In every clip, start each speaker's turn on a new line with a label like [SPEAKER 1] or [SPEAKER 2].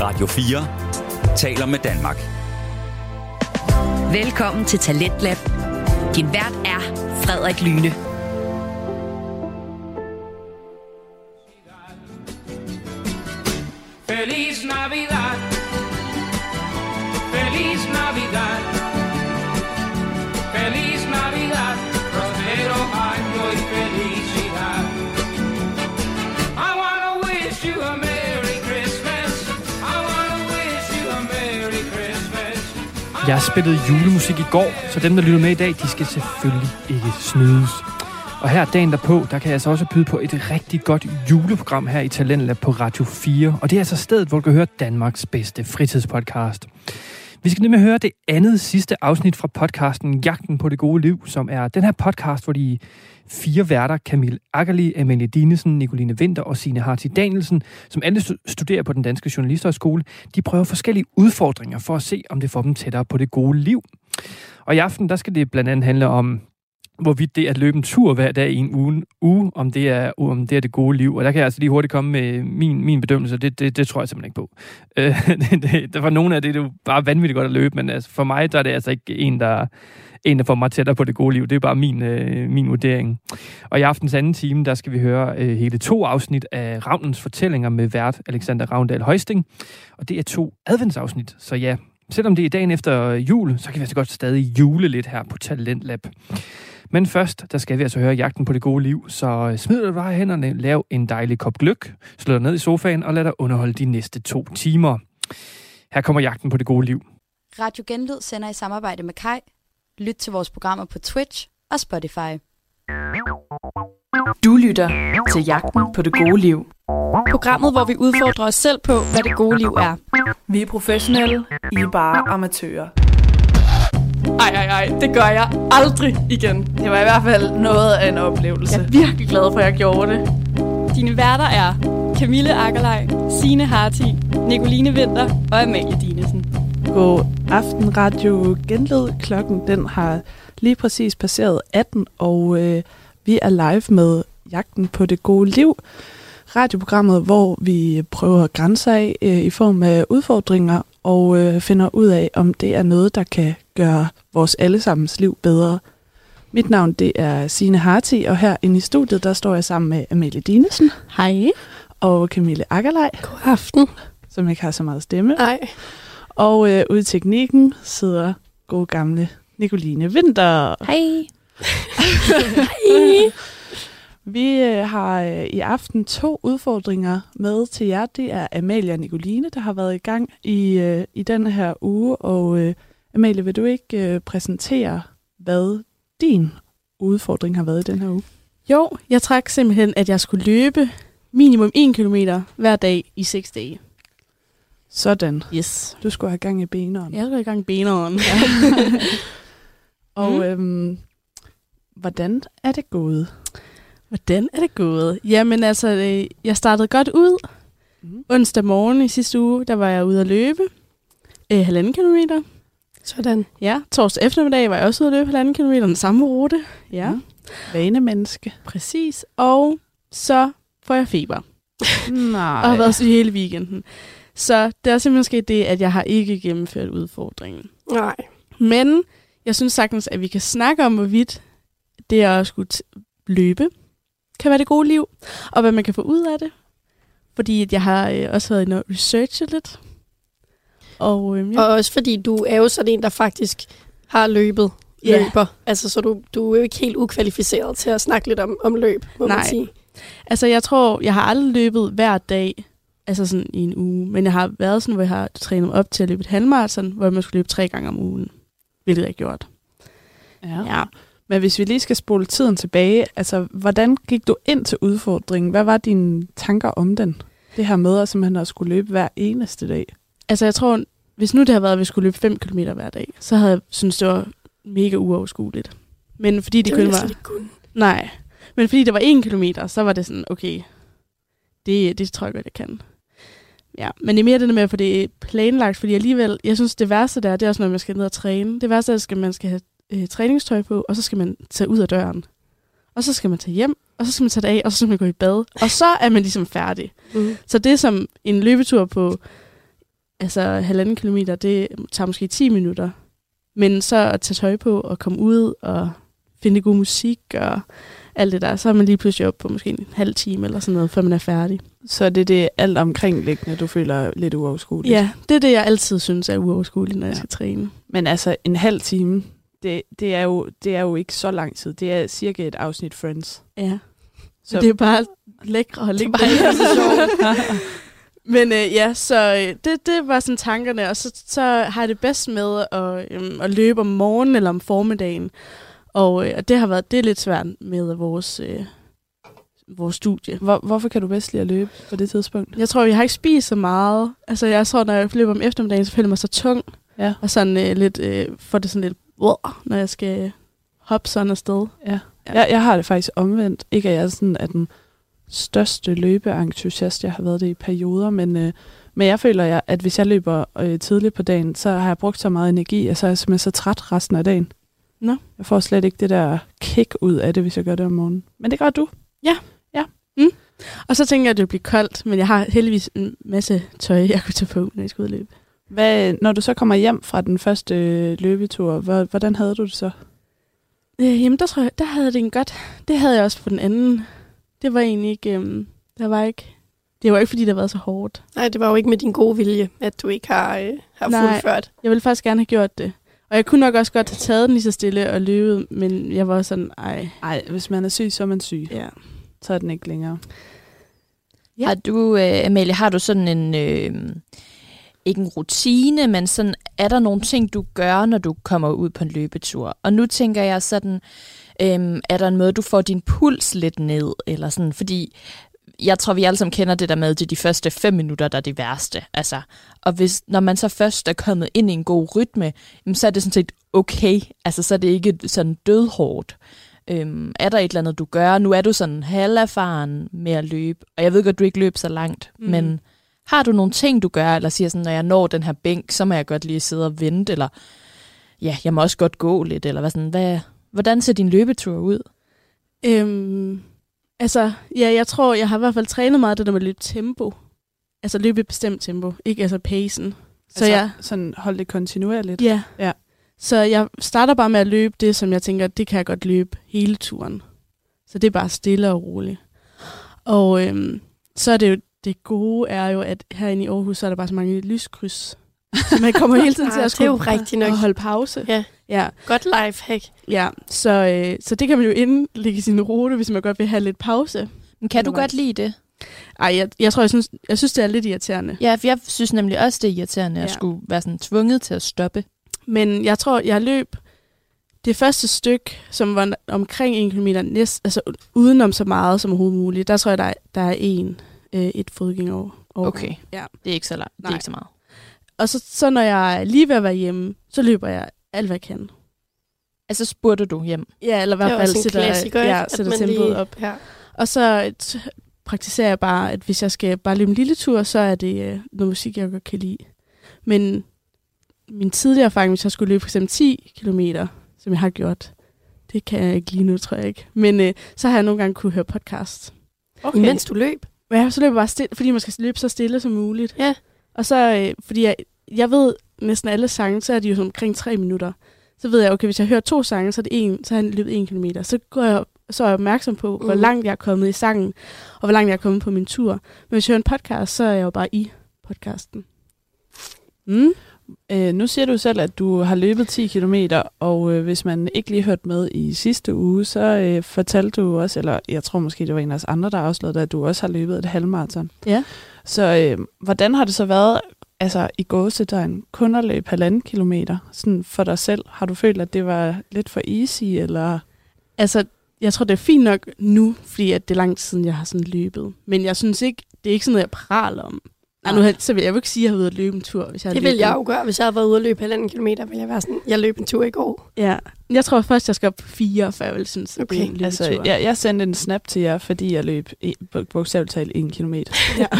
[SPEAKER 1] Radio 4 taler med Danmark.
[SPEAKER 2] Velkommen til Talentlab. Din vært er Frederik Lyne.
[SPEAKER 3] Feliz Navidad. Feliz Navidad. Feliz Navidad. Prospero año y felicidad. I wanna wish you a Merry Christmas. I wanna wish you a Merry Christmas. I
[SPEAKER 4] Jeg spillede julemusik i går, så dem, der lytter med i dag, de skal selvfølgelig ikke snydes. Og her dagen derpå, der kan jeg altså også byde på et rigtig godt juleprogram her i Talentlab på Radio 4. Og det er altså stedet, hvor du kan høre Danmarks bedste fritidspodcast. Vi skal nemlig høre det andet sidste afsnit fra podcasten Jagten på det gode liv, som er den her podcast, hvor de fire værter, Camille Akkerli, Amalie Dinesen, Nicoline Vinter og Signe Harti Danielsen, som alle stu- studerer på den danske journalisterskole, de prøver forskellige udfordringer for at se, om det får dem tættere på det gode liv. Og i aften, der skal det blandt andet handle om hvorvidt det at løbe en tur hver dag i en uge, uge om, det er, om det er det gode liv. Og der kan jeg altså lige hurtigt komme med min, min bedømmelse, det, det, det tror jeg simpelthen ikke på. Øh, det, det, der var nogen af det, det er jo bare vanvittigt godt at løbe, men altså, for mig der er det altså ikke en, der, en, der får mig tættere på det gode liv. Det er bare min, øh, min vurdering. Og i aftens anden time, der skal vi høre øh, hele to afsnit af Ravnens fortællinger med vært Alexander Ravndal Højsting. Og det er to adventsafsnit, så ja, selvom det er dagen efter jul, så kan vi altså godt stadig jule lidt her på Talentlab. Men først, der skal vi altså høre jagten på det gode liv, så øh, smid dig bare i hænderne, lav en dejlig kop gløk, slå dig ned i sofaen og lad dig underholde de næste to timer. Her kommer jagten på det gode liv.
[SPEAKER 5] Radio Genlyd sender i samarbejde med Kai. Lyt til vores programmer på Twitch og Spotify.
[SPEAKER 6] Du lytter til Jagten på det gode liv.
[SPEAKER 7] Programmet, hvor vi udfordrer os selv på, hvad det gode liv er.
[SPEAKER 6] Vi er professionelle, I er bare amatører.
[SPEAKER 7] Ej, ej, ej, det gør jeg aldrig igen.
[SPEAKER 6] Det var i hvert fald noget af en oplevelse.
[SPEAKER 7] Jeg er virkelig glad
[SPEAKER 6] for, at jeg gjorde det.
[SPEAKER 7] Dine værter er Camille Akkerlej, Sine Harti, Nicoline Vinter og Amalie Dinesen.
[SPEAKER 8] God aften, Radio Genled. Klokken den har lige præcis passeret 18, og øh, vi er live med Jagten på det gode liv. Radioprogrammet, hvor vi prøver grænser af øh, i form af udfordringer, og øh, finder ud af, om det er noget, der kan gøre vores allesammens liv bedre. Mit navn det er Sine Harti, og her inde i studiet, der står jeg sammen med Amalie Dinesen
[SPEAKER 9] Hej.
[SPEAKER 8] og Camille Akkerlej,
[SPEAKER 9] God aften.
[SPEAKER 8] som ikke har så meget stemme.
[SPEAKER 9] Nej.
[SPEAKER 8] Og øh, ude i teknikken sidder god gamle Nicoline Vinter.
[SPEAKER 9] Hej.
[SPEAKER 8] Vi øh, har øh, i aften to udfordringer med til jer. Det er Amalie og Nicoline, der har været i gang i, øh, i den her uge. Og øh, Amalie, vil du ikke øh, præsentere, hvad din udfordring har været i den her uge?
[SPEAKER 9] Jo, jeg trak simpelthen, at jeg skulle løbe minimum 1 km hver dag i 6 dage.
[SPEAKER 8] Sådan.
[SPEAKER 9] Yes.
[SPEAKER 8] Du skulle have gang i benene.
[SPEAKER 9] Jeg skal i gang med beneren.
[SPEAKER 8] Og
[SPEAKER 9] Mm.
[SPEAKER 8] øhm, hvordan er det gået?
[SPEAKER 9] Hvordan er det gået? Jamen altså, øh, jeg startede godt ud.
[SPEAKER 8] Mm.
[SPEAKER 9] Onsdag morgen i sidste uge, der var jeg ude at løbe. Øh, halvanden kilometer. Sådan. Ja, torsdag eftermiddag var jeg også ude at løbe halvanden kilometer den samme rute. Ja,
[SPEAKER 8] Mm. Vanemenneske.
[SPEAKER 9] præcis. Og så får jeg feber.
[SPEAKER 8] Nej.
[SPEAKER 9] og har været syg hele weekenden. Så det er simpelthen sket det, at jeg har ikke gennemført udfordringen.
[SPEAKER 10] Nej.
[SPEAKER 9] Men jeg synes sagtens, at vi kan snakke om, hvorvidt det at skulle t- løbe kan være det gode liv, og hvad man kan få ud af det. Fordi at jeg har øh, også været inde og researche lidt. Og øhm, ja.
[SPEAKER 10] Og også fordi du er jo sådan en, der faktisk har løbet.
[SPEAKER 9] Ja.
[SPEAKER 10] Løber. Altså, så du, du er jo ikke helt ukvalificeret til at snakke lidt om, om løb, må
[SPEAKER 9] Nej.
[SPEAKER 10] man sige.
[SPEAKER 9] Altså, jeg tror, jeg har aldrig løbet hver dag, altså sådan i en uge, men jeg har været sådan, hvor jeg har trænet mig op til at løbe et halvmarathon, hvor man skulle løbe tre gange om ugen, hvilket jeg gjort.
[SPEAKER 8] Ja. ja. Men hvis vi lige skal spole tiden tilbage, altså hvordan gik du ind til udfordringen? Hvad var dine tanker om den? Det her med at simpelthen at skulle løbe hver eneste dag.
[SPEAKER 9] Altså, jeg tror, hvis nu det havde været, at vi skulle løbe 5 km hver dag, så havde jeg syntes, det var mega uoverskueligt. Men fordi det,
[SPEAKER 10] det
[SPEAKER 9] det
[SPEAKER 10] ville
[SPEAKER 9] kun
[SPEAKER 10] jeg
[SPEAKER 9] var...
[SPEAKER 10] slet ikke kunne.
[SPEAKER 9] Nej. Men fordi der var 1 km, så var det sådan, okay, det, det tror jeg godt, jeg kan. Ja, men det er mere det der med at få det planlagt, fordi alligevel, jeg synes, det værste der, det er også, når man skal ned og træne. Det værste er, at man skal have øh, træningstøj på, og så skal man tage ud af døren. Og så skal man tage hjem, og så skal man tage det af, og så skal man gå i bad. Og så er man ligesom færdig.
[SPEAKER 10] Mm.
[SPEAKER 9] Så det som en løbetur på altså halvanden kilometer, det tager måske 10 minutter. Men så at tage tøj på og komme ud og finde god musik og alt det der, så er man lige pludselig oppe på måske en halv time eller sådan noget, før man er færdig.
[SPEAKER 8] Så det er det alt omkringliggende, du føler lidt uoverskueligt?
[SPEAKER 9] Ja, det er det, jeg altid synes er uoverskueligt, når jeg skal træne.
[SPEAKER 8] Men altså, en halv time, det, det, er jo, det er jo ikke så lang tid. Det er cirka et afsnit Friends.
[SPEAKER 9] Ja. Så det er bare lækre og lækre.
[SPEAKER 8] bare ikke så
[SPEAKER 9] sjovt. Men øh, ja, så øh, det, det var sådan tankerne, og så, så har jeg det bedst med at, øhm, at løbe om morgenen eller om formiddagen. Og, øh, og det har været det er lidt svært med vores, øh, vores studie.
[SPEAKER 8] Hvor, hvorfor kan du bedst lide at løbe på det tidspunkt?
[SPEAKER 9] Jeg tror, jeg har ikke spist så meget. Altså, jeg tror, når jeg løber om eftermiddagen, så føler jeg mig så tung.
[SPEAKER 8] Ja.
[SPEAKER 9] Og sådan øh, lidt, øh, får det sådan lidt, "Wow", når jeg skal hoppe sådan afsted.
[SPEAKER 8] Ja. Jeg, jeg har det faktisk omvendt. Ikke at jeg sådan er den største løbeentusiast, jeg har været det i perioder, men, øh, men jeg føler, jeg, at hvis jeg løber øh, tidligt på dagen, så har jeg brugt så meget energi, og så er jeg simpelthen så træt resten af dagen.
[SPEAKER 9] Nå.
[SPEAKER 8] Jeg får slet ikke det der kick ud af det, hvis jeg gør det om morgenen. Men det gør du.
[SPEAKER 9] Ja.
[SPEAKER 8] Ja.
[SPEAKER 9] Mm. Og så tænker jeg, at det bliver koldt, men jeg har heldigvis en masse tøj, jeg kunne tage på, når jeg skal ud og løbe.
[SPEAKER 8] Hvad, når du så kommer hjem fra den første øh, løbetur, hvor- hvordan havde du det så?
[SPEAKER 9] Øh, jamen, der tror jeg, der havde jeg det en godt. Det havde jeg også på den anden. Det var egentlig ikke, øhm, der var ikke, det var ikke fordi, det har været så hårdt.
[SPEAKER 11] Nej, det var jo ikke med din gode vilje, at du ikke har, øh, har
[SPEAKER 9] Nej.
[SPEAKER 11] fuldført.
[SPEAKER 9] Jeg ville faktisk gerne have gjort det. Og jeg kunne nok også godt have taget den lige så stille og løbet, men jeg var også sådan, ej.
[SPEAKER 8] Ej, hvis man er syg, så er man syg.
[SPEAKER 9] Ja.
[SPEAKER 8] Så er den ikke længere.
[SPEAKER 6] Ja. Har du, øh, Amalie, har du sådan en, øh, ikke en rutine, men sådan, er der nogle ting, du gør, når du kommer ud på en løbetur? Og nu tænker jeg sådan, øh, er der en måde, du får din puls lidt ned, eller sådan, fordi jeg tror, vi alle sammen kender det der med, at det er de første fem minutter, der er det værste. Altså, og hvis, når man så først er kommet ind i en god rytme, jamen, så er det sådan set okay. Altså, så er det ikke sådan dødhårdt. Øhm, er der et eller andet, du gør? Nu er du sådan halverfaren med at løbe, og jeg ved godt, du ikke løb så langt, mm.
[SPEAKER 9] Mhm.
[SPEAKER 6] men har du nogle ting, du gør, eller siger sådan, når jeg når den her bænk, så må jeg godt lige sidde og vente, eller ja, jeg må også godt gå lidt, eller hvad sådan, hvad, hvordan ser din løbetur ud?
[SPEAKER 9] Øhm, altså, ja, jeg tror, jeg har i hvert fald trænet meget det der med at løbe tempo. Altså løbe i et bestemt tempo, ikke altså pacen. Så
[SPEAKER 8] altså,
[SPEAKER 9] jeg,
[SPEAKER 8] Sådan holde det kontinuerligt.
[SPEAKER 9] Ja.
[SPEAKER 8] ja.
[SPEAKER 9] Så jeg starter bare med at løbe det, som jeg tænker, det kan jeg godt løbe hele turen. Så det er bare stille og roligt. Og øhm, så er det jo, det gode er jo, at herinde i Aarhus, så er der bare så mange lyskryds. Så man kommer hele tiden til
[SPEAKER 11] Ah,
[SPEAKER 9] at
[SPEAKER 11] det er jo
[SPEAKER 9] skulle-
[SPEAKER 11] rigtigt nok.
[SPEAKER 9] og holde pause.
[SPEAKER 11] Ja.
[SPEAKER 9] ja.
[SPEAKER 11] Godt lifehack.
[SPEAKER 9] Ja, så, øh, så det kan man jo indlægge i sin rute, hvis man godt vil have lidt pause.
[SPEAKER 6] Men kan du godt lide det?
[SPEAKER 9] Ej, jeg, jeg tror, jeg synes, jeg synes, det er lidt irriterende.
[SPEAKER 6] Ja, for jeg synes nemlig også, det er irriterende ja. at
[SPEAKER 9] Ja.
[SPEAKER 6] skulle være sådan tvunget til at stoppe.
[SPEAKER 9] Men jeg tror, jeg løb det første stykke, som var omkring en kilometer, næst, altså udenom så meget som overhovedet muligt, der tror jeg, der er, der er en, øh, et fodgæng over. over.
[SPEAKER 6] Okay.
[SPEAKER 9] Ja.
[SPEAKER 6] Det er ikke så, langt. Det er
[SPEAKER 9] Nej.
[SPEAKER 6] ikke så meget.
[SPEAKER 9] Og så, så når jeg er lige ved at være hjemme, så løber jeg alt, hvad jeg kan.
[SPEAKER 6] Altså spurgte du hjem?
[SPEAKER 9] Ja, eller i
[SPEAKER 11] Det er
[SPEAKER 9] hvert
[SPEAKER 11] også en
[SPEAKER 9] fald sætter,
[SPEAKER 11] klassiker, ikke?
[SPEAKER 9] ja,
[SPEAKER 11] At
[SPEAKER 9] sætter
[SPEAKER 11] man
[SPEAKER 9] tempoet
[SPEAKER 11] lige-
[SPEAKER 9] op.
[SPEAKER 11] ja.
[SPEAKER 9] Og så t- praktiserer jeg bare, at hvis jeg skal bare løbe en lille tur, så er det øh, noget musik, jeg godt kan lide. Men min tidligere erfaring, hvis jeg skulle løbe for eksempel 10 km, som jeg har gjort, det kan jeg ikke lige nu, tror jeg ikke. Men øh, så har jeg nogle gange kunne høre podcast.
[SPEAKER 11] Okay. Imens du løb?
[SPEAKER 9] Ja, så løber jeg bare stille, fordi man skal løbe så stille som muligt.
[SPEAKER 11] Ja.
[SPEAKER 9] Og så, øh, fordi jeg, jeg ved næsten alle sange, så er de jo sådan omkring 3 minutter. Så ved jeg, okay, hvis jeg hører to sange, så, er det en, så har han løbet en kilometer. Så, går jeg, så er jeg opmærksom på, hvor
[SPEAKER 11] Mm.
[SPEAKER 9] langt jeg er kommet i sangen, og hvor langt jeg er kommet på min tur. Men hvis jeg hører en podcast, så er jeg jo bare i podcasten. Mm.
[SPEAKER 8] Øh, nu siger du selv, at du har løbet 10 km, og øh, hvis man ikke lige hørte med i sidste uge, så øh, fortalte du også, eller jeg tror måske, det var en af os andre, der afslørede det, at du også har løbet et halvmarathon.
[SPEAKER 9] Ja.
[SPEAKER 8] Så øh, hvordan har det så været, altså i gåsedøgn, kun at løbe halvanden kilometer sådan for dig selv? Har du følt, at det var lidt for easy, eller...
[SPEAKER 9] Altså, jeg tror, det er fint nok nu, fordi at det er lang tid siden, jeg har sådan løbet. Men jeg synes ikke, det er ikke sådan noget, jeg praler om. Nej, nu, har- så vil jeg jo ikke sige, at jeg har været ude at løbe en tur, hvis jeg har
[SPEAKER 11] Det vil
[SPEAKER 9] løbet.
[SPEAKER 11] jeg jo gøre. Hvis jeg havde været ude at løbe halvanden kilometer, ville jeg være sådan, jeg løb en tur i går.
[SPEAKER 9] Ja, jeg tror først, jeg skal op på fire, før jeg vil synes, at det er en løbetur.
[SPEAKER 8] altså, jeg, jeg sendte en snap til jer, fordi jeg løb i- bog- bogstaveligt talt en kilometer.
[SPEAKER 9] Ja.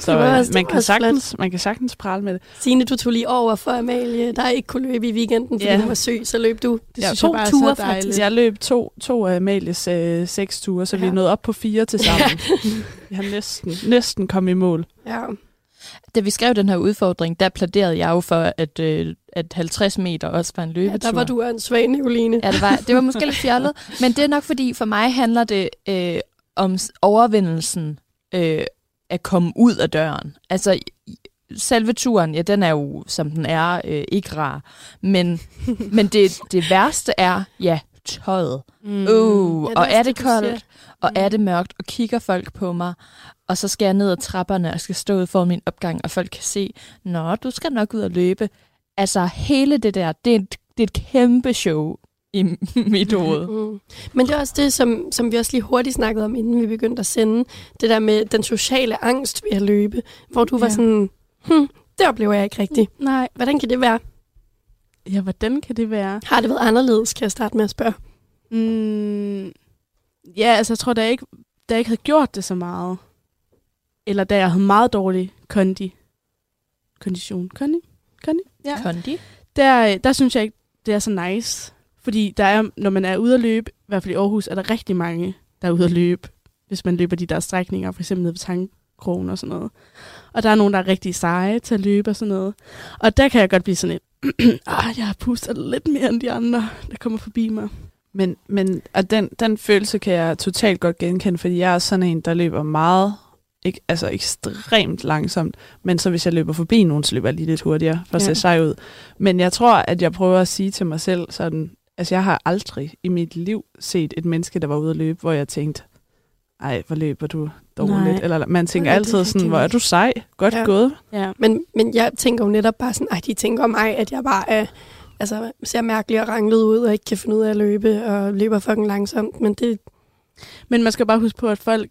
[SPEAKER 8] så
[SPEAKER 11] Det var
[SPEAKER 8] øh,
[SPEAKER 11] også- det
[SPEAKER 8] man,
[SPEAKER 11] var
[SPEAKER 8] kan
[SPEAKER 11] også flot.
[SPEAKER 8] sagtens, man kan sagtens prale med det.
[SPEAKER 11] Signe, du tog lige over for Amalie, der ikke kunne løbe i weekenden, fordi
[SPEAKER 8] Ja.
[SPEAKER 11] ja. hun var syg, så løb du. Det
[SPEAKER 8] Ja,
[SPEAKER 11] synes jeg bare er så dejligt.
[SPEAKER 8] Jeg løb to, to af Amalies øh, seks ture, så ja. vi nåede op på fire til sammen. jeg har næsten, næsten kom i mål.
[SPEAKER 11] Ja.
[SPEAKER 6] Da vi skrev den her udfordring, der pladerede jeg jo for, at, øh, at 50 meter også var en løbetur.
[SPEAKER 12] der var du en svag Nicoline.
[SPEAKER 6] Ja, det var, det var måske lidt fjollet, men det er nok fordi, for mig handler det øh, om s- overvindelsen øh, at komme ud af døren. Altså, i- selve turen, ja, den er jo, som den er, øh, ikke rar. Men, men det, det værste er, ja, tøjet.
[SPEAKER 9] Mm.
[SPEAKER 6] Mm. Uh,
[SPEAKER 9] Ja, det er
[SPEAKER 6] og
[SPEAKER 9] også
[SPEAKER 6] er
[SPEAKER 9] det,
[SPEAKER 6] det
[SPEAKER 9] du siger.
[SPEAKER 6] koldt, og
[SPEAKER 12] Mm.
[SPEAKER 6] er det mørkt, og kigger folk på mig, og så skal jeg ned ad trapperne, og skal stå ud for min opgang, og folk kan se, nå, du skal nok ud og løbe. Altså, hele det der, det er et, det er et kæmpe show i m- mit hoved.
[SPEAKER 12] Mm. Men det er også det, som, som vi også lige hurtigt snakkede om, inden vi begyndte at sende. Det der med den sociale angst ved at løbe, hvor du var
[SPEAKER 9] Ja.
[SPEAKER 12] sådan, hm, det oplever jeg ikke rigtigt.
[SPEAKER 9] Nej.
[SPEAKER 12] Hvordan kan det være?
[SPEAKER 9] Ja, hvordan kan det være?
[SPEAKER 12] Har det været anderledes, kan jeg starte med at spørge.
[SPEAKER 9] Mm, ja, altså jeg tror, da jeg, ikke, da jeg ikke havde gjort det så meget, eller da jeg havde meget dårlig kondi, kondition, kondi, kondi, ja.
[SPEAKER 6] Kondi?
[SPEAKER 9] Der, øh, der synes jeg ikke, det er så nice. Fordi der er, når man er ude at løbe, i hvert fald i Aarhus, er der rigtig mange, der er ude at løbe, hvis man løber de der strækninger, for eksempel ned ved Tangkrogen og sådan noget. Og der er nogen, der er rigtig seje til at løbe og sådan noget. Og der kan jeg godt blive sådan lidt, ah, jeg har pustet lidt mere end de andre, der kommer forbi mig.
[SPEAKER 8] Men, men og den, den følelse kan jeg totalt godt genkende, fordi jeg er sådan en, der løber meget, ikke, altså ekstremt langsomt, men så hvis jeg løber forbi nogen, så løber jeg lige lidt hurtigere for at
[SPEAKER 9] Ja.
[SPEAKER 8] se sej ud. Men jeg tror, at jeg prøver at sige til mig selv sådan, altså jeg har aldrig i mit liv set et menneske, der var ude at løbe, hvor jeg tænkte, ej, hvor løber du dårligt.
[SPEAKER 12] Nej.
[SPEAKER 8] Nej. Eller man tænker
[SPEAKER 12] Nej, det er
[SPEAKER 8] altid sådan,
[SPEAKER 12] rigtigt.
[SPEAKER 8] hvor er du sej, godt
[SPEAKER 12] Ja.
[SPEAKER 8] ja. gået.
[SPEAKER 9] Ja.
[SPEAKER 12] Men, men jeg tænker jo netop bare sådan, ej, de tænker om mig, at jeg bare er, altså, ser mærkelig og ranglet ud, og ikke kan finde ud af at løbe, og løber fucking langsomt. Men det,
[SPEAKER 9] Men man skal bare huske på, at folk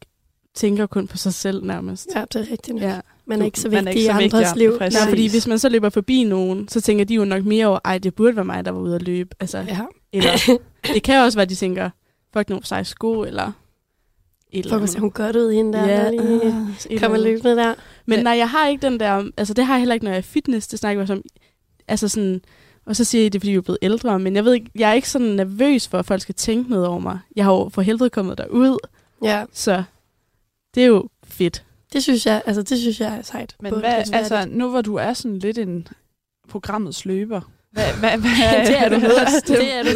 [SPEAKER 9] tænker kun på sig selv nærmest.
[SPEAKER 12] ja, det er rigtigt nok.
[SPEAKER 9] Ja.
[SPEAKER 12] Ja. Man er
[SPEAKER 9] Du-
[SPEAKER 12] ikke så
[SPEAKER 9] man er
[SPEAKER 12] vigtig
[SPEAKER 9] ikke
[SPEAKER 12] i
[SPEAKER 9] så vigtig,
[SPEAKER 12] andres
[SPEAKER 9] ja,
[SPEAKER 12] liv.
[SPEAKER 9] Præcis. Nej, fordi hvis man så løber forbi nogen, så tænker de jo nok mere over, ej, det burde være mig, der var ude at løbe. Altså,
[SPEAKER 12] Ja.
[SPEAKER 9] eller, det kan også være, at de tænker, fuck nogle seje sko, eller... et eller
[SPEAKER 12] Fuck, hvor
[SPEAKER 9] andet.
[SPEAKER 12] ser hun godt ud hende der. Ja,
[SPEAKER 9] Ja, øh, et
[SPEAKER 12] lige,
[SPEAKER 9] eller
[SPEAKER 12] kom og
[SPEAKER 9] andet.
[SPEAKER 12] løbende der.
[SPEAKER 9] Men nej, jeg har ikke den der... Altså, det har jeg heller ikke, når jeg er i fitness. Det snakker jeg også om. Altså sådan... Og så siger I, det er, fordi vi er blevet ældre, men jeg ved ikke, jeg er ikke sådan nervøs for, at folk skal tænke noget over mig. Jeg har jo for helvede kommet derud,
[SPEAKER 12] Ja,
[SPEAKER 9] så det er jo fedt.
[SPEAKER 12] det synes jeg, altså, det synes jeg er sejt.
[SPEAKER 8] Men
[SPEAKER 12] Både
[SPEAKER 8] hvad,
[SPEAKER 12] kunstnærligt.
[SPEAKER 8] altså, nu hvor du er sådan lidt en programmets løber, hvad, hvad, hvad,
[SPEAKER 12] Det er du også. Det er du.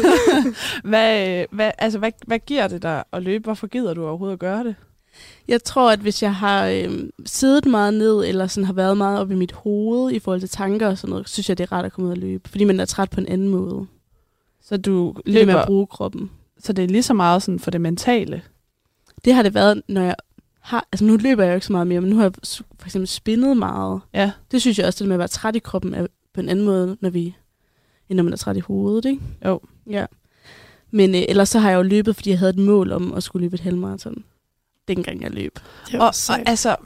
[SPEAKER 8] hvad, øh, hvad, altså, hvad, hvad giver det dig at løbe? Hvorfor gider du overhovedet at gøre det?
[SPEAKER 9] Jeg tror, at hvis jeg har øhm, siddet meget ned, eller sådan har været meget oppe i mit hoved i forhold til tanker og sådan noget, synes jeg, det er rart at komme ud og løbe, fordi man er træt på en anden måde.
[SPEAKER 8] Så du
[SPEAKER 9] Det med
[SPEAKER 8] løber-
[SPEAKER 9] at bruge kroppen.
[SPEAKER 8] Så det er lige så meget sådan for det mentale?
[SPEAKER 9] Det har det været, når jeg har... Altså nu løber jeg jo ikke så meget mere, men nu har jeg s- for eksempel spindet meget.
[SPEAKER 8] Ja.
[SPEAKER 9] Det synes jeg også, det med at være træt i kroppen er på en anden måde, når vi, end når man er træt i hovedet, ikke?
[SPEAKER 8] Jo.
[SPEAKER 9] Ja. Men øh, ellers så har jeg jo løbet, fordi jeg havde et mål om at skulle løbe et halvmarathon. Dengang jeg løb.
[SPEAKER 8] Og, og altså,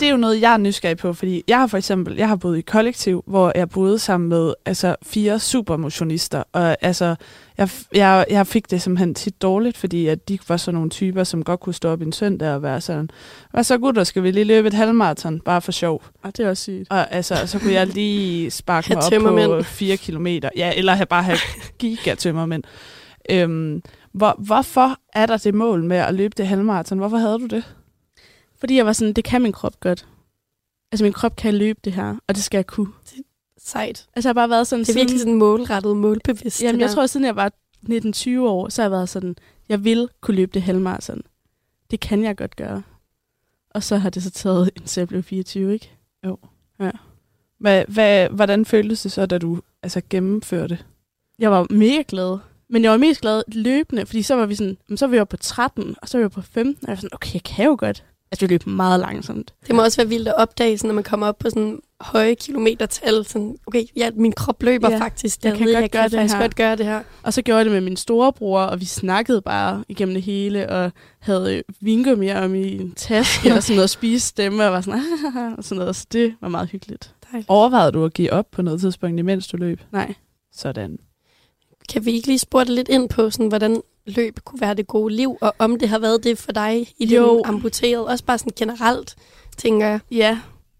[SPEAKER 8] det er jo noget, jeg er nysgerrig på, fordi jeg har for eksempel, jeg har boet i et kollektiv, hvor jeg boede sammen med altså, fire supermotionister, og altså, jeg, f- jeg, jeg fik det simpelthen tit dårligt, fordi at de var sådan nogle typer, som godt kunne stå op en søndag og være sådan, hvad så gutter, skal vi lige løbe et halvmarathon, bare for sjov.
[SPEAKER 9] Og det er også sygt.
[SPEAKER 8] Og altså, så kunne jeg lige sparke
[SPEAKER 9] Have
[SPEAKER 8] mig op på
[SPEAKER 9] tømmermænd.
[SPEAKER 8] 4 kilometer, ja, eller have- bare have gigatømmermænd. Øhm, hvor, hvorfor er der det mål med at løbe det halvmarathon? Hvorfor havde du det?
[SPEAKER 9] Fordi jeg var sådan, det kan min krop godt. Altså min krop kan løbe det her, og det skal jeg kunne.
[SPEAKER 12] Sejt.
[SPEAKER 9] Altså jeg har bare været sådan...
[SPEAKER 12] Det er virkelig
[SPEAKER 9] siden-
[SPEAKER 12] sådan målrettet, målbevidst.
[SPEAKER 9] Jamen,
[SPEAKER 12] det
[SPEAKER 9] jeg
[SPEAKER 12] der.
[SPEAKER 9] tror, siden jeg var 19-20 år, så har jeg været sådan, jeg vil kunne løbe det halvmarathon. Det kan jeg godt gøre. Og så har det så taget, indtil jeg blev 24, ikke?
[SPEAKER 8] Jo.
[SPEAKER 9] Ja.
[SPEAKER 8] Hvad, hvad, hvordan føltes det så, da du altså, gennemførte?
[SPEAKER 9] Jeg var mega glad. Men jeg var mest glad løbende, fordi så var vi sådan, "Jamen, så var vi oppe på 13, og så var vi oppe på 15, og jeg var sådan, okay, jeg kan jo godt. Altså, vi løb meget langsomt.
[SPEAKER 12] Det må også være vildt at opdage, sådan, når man kommer op på sådan høje kilometertal. Sådan, okay, ja, min krop løber
[SPEAKER 9] Ja,
[SPEAKER 12] ja, faktisk.
[SPEAKER 9] jeg
[SPEAKER 12] Jeg,
[SPEAKER 9] kan
[SPEAKER 12] ved,
[SPEAKER 9] godt
[SPEAKER 12] jeg
[SPEAKER 9] gøre
[SPEAKER 12] kan
[SPEAKER 9] det
[SPEAKER 12] faktisk
[SPEAKER 9] her.
[SPEAKER 12] godt gøre det her.
[SPEAKER 9] Og så gjorde jeg det med min storebror, og vi snakkede bare igennem det hele, og havde øh, vingummi om i en taske, og sådan noget spise stemme, og var sådan, og sådan noget. Så det var meget hyggeligt.
[SPEAKER 8] Overvejede du at give op på noget tidspunkt, imens du løb?
[SPEAKER 9] Nej.
[SPEAKER 8] Sådan.
[SPEAKER 12] Kan vi ikke lige spurgte lidt ind på, sådan, hvordan løb kunne være det gode liv, og om det har været det for dig i
[SPEAKER 9] Jo.
[SPEAKER 12] din amputerede, også bare sådan generelt, tænker jeg.
[SPEAKER 9] Ja,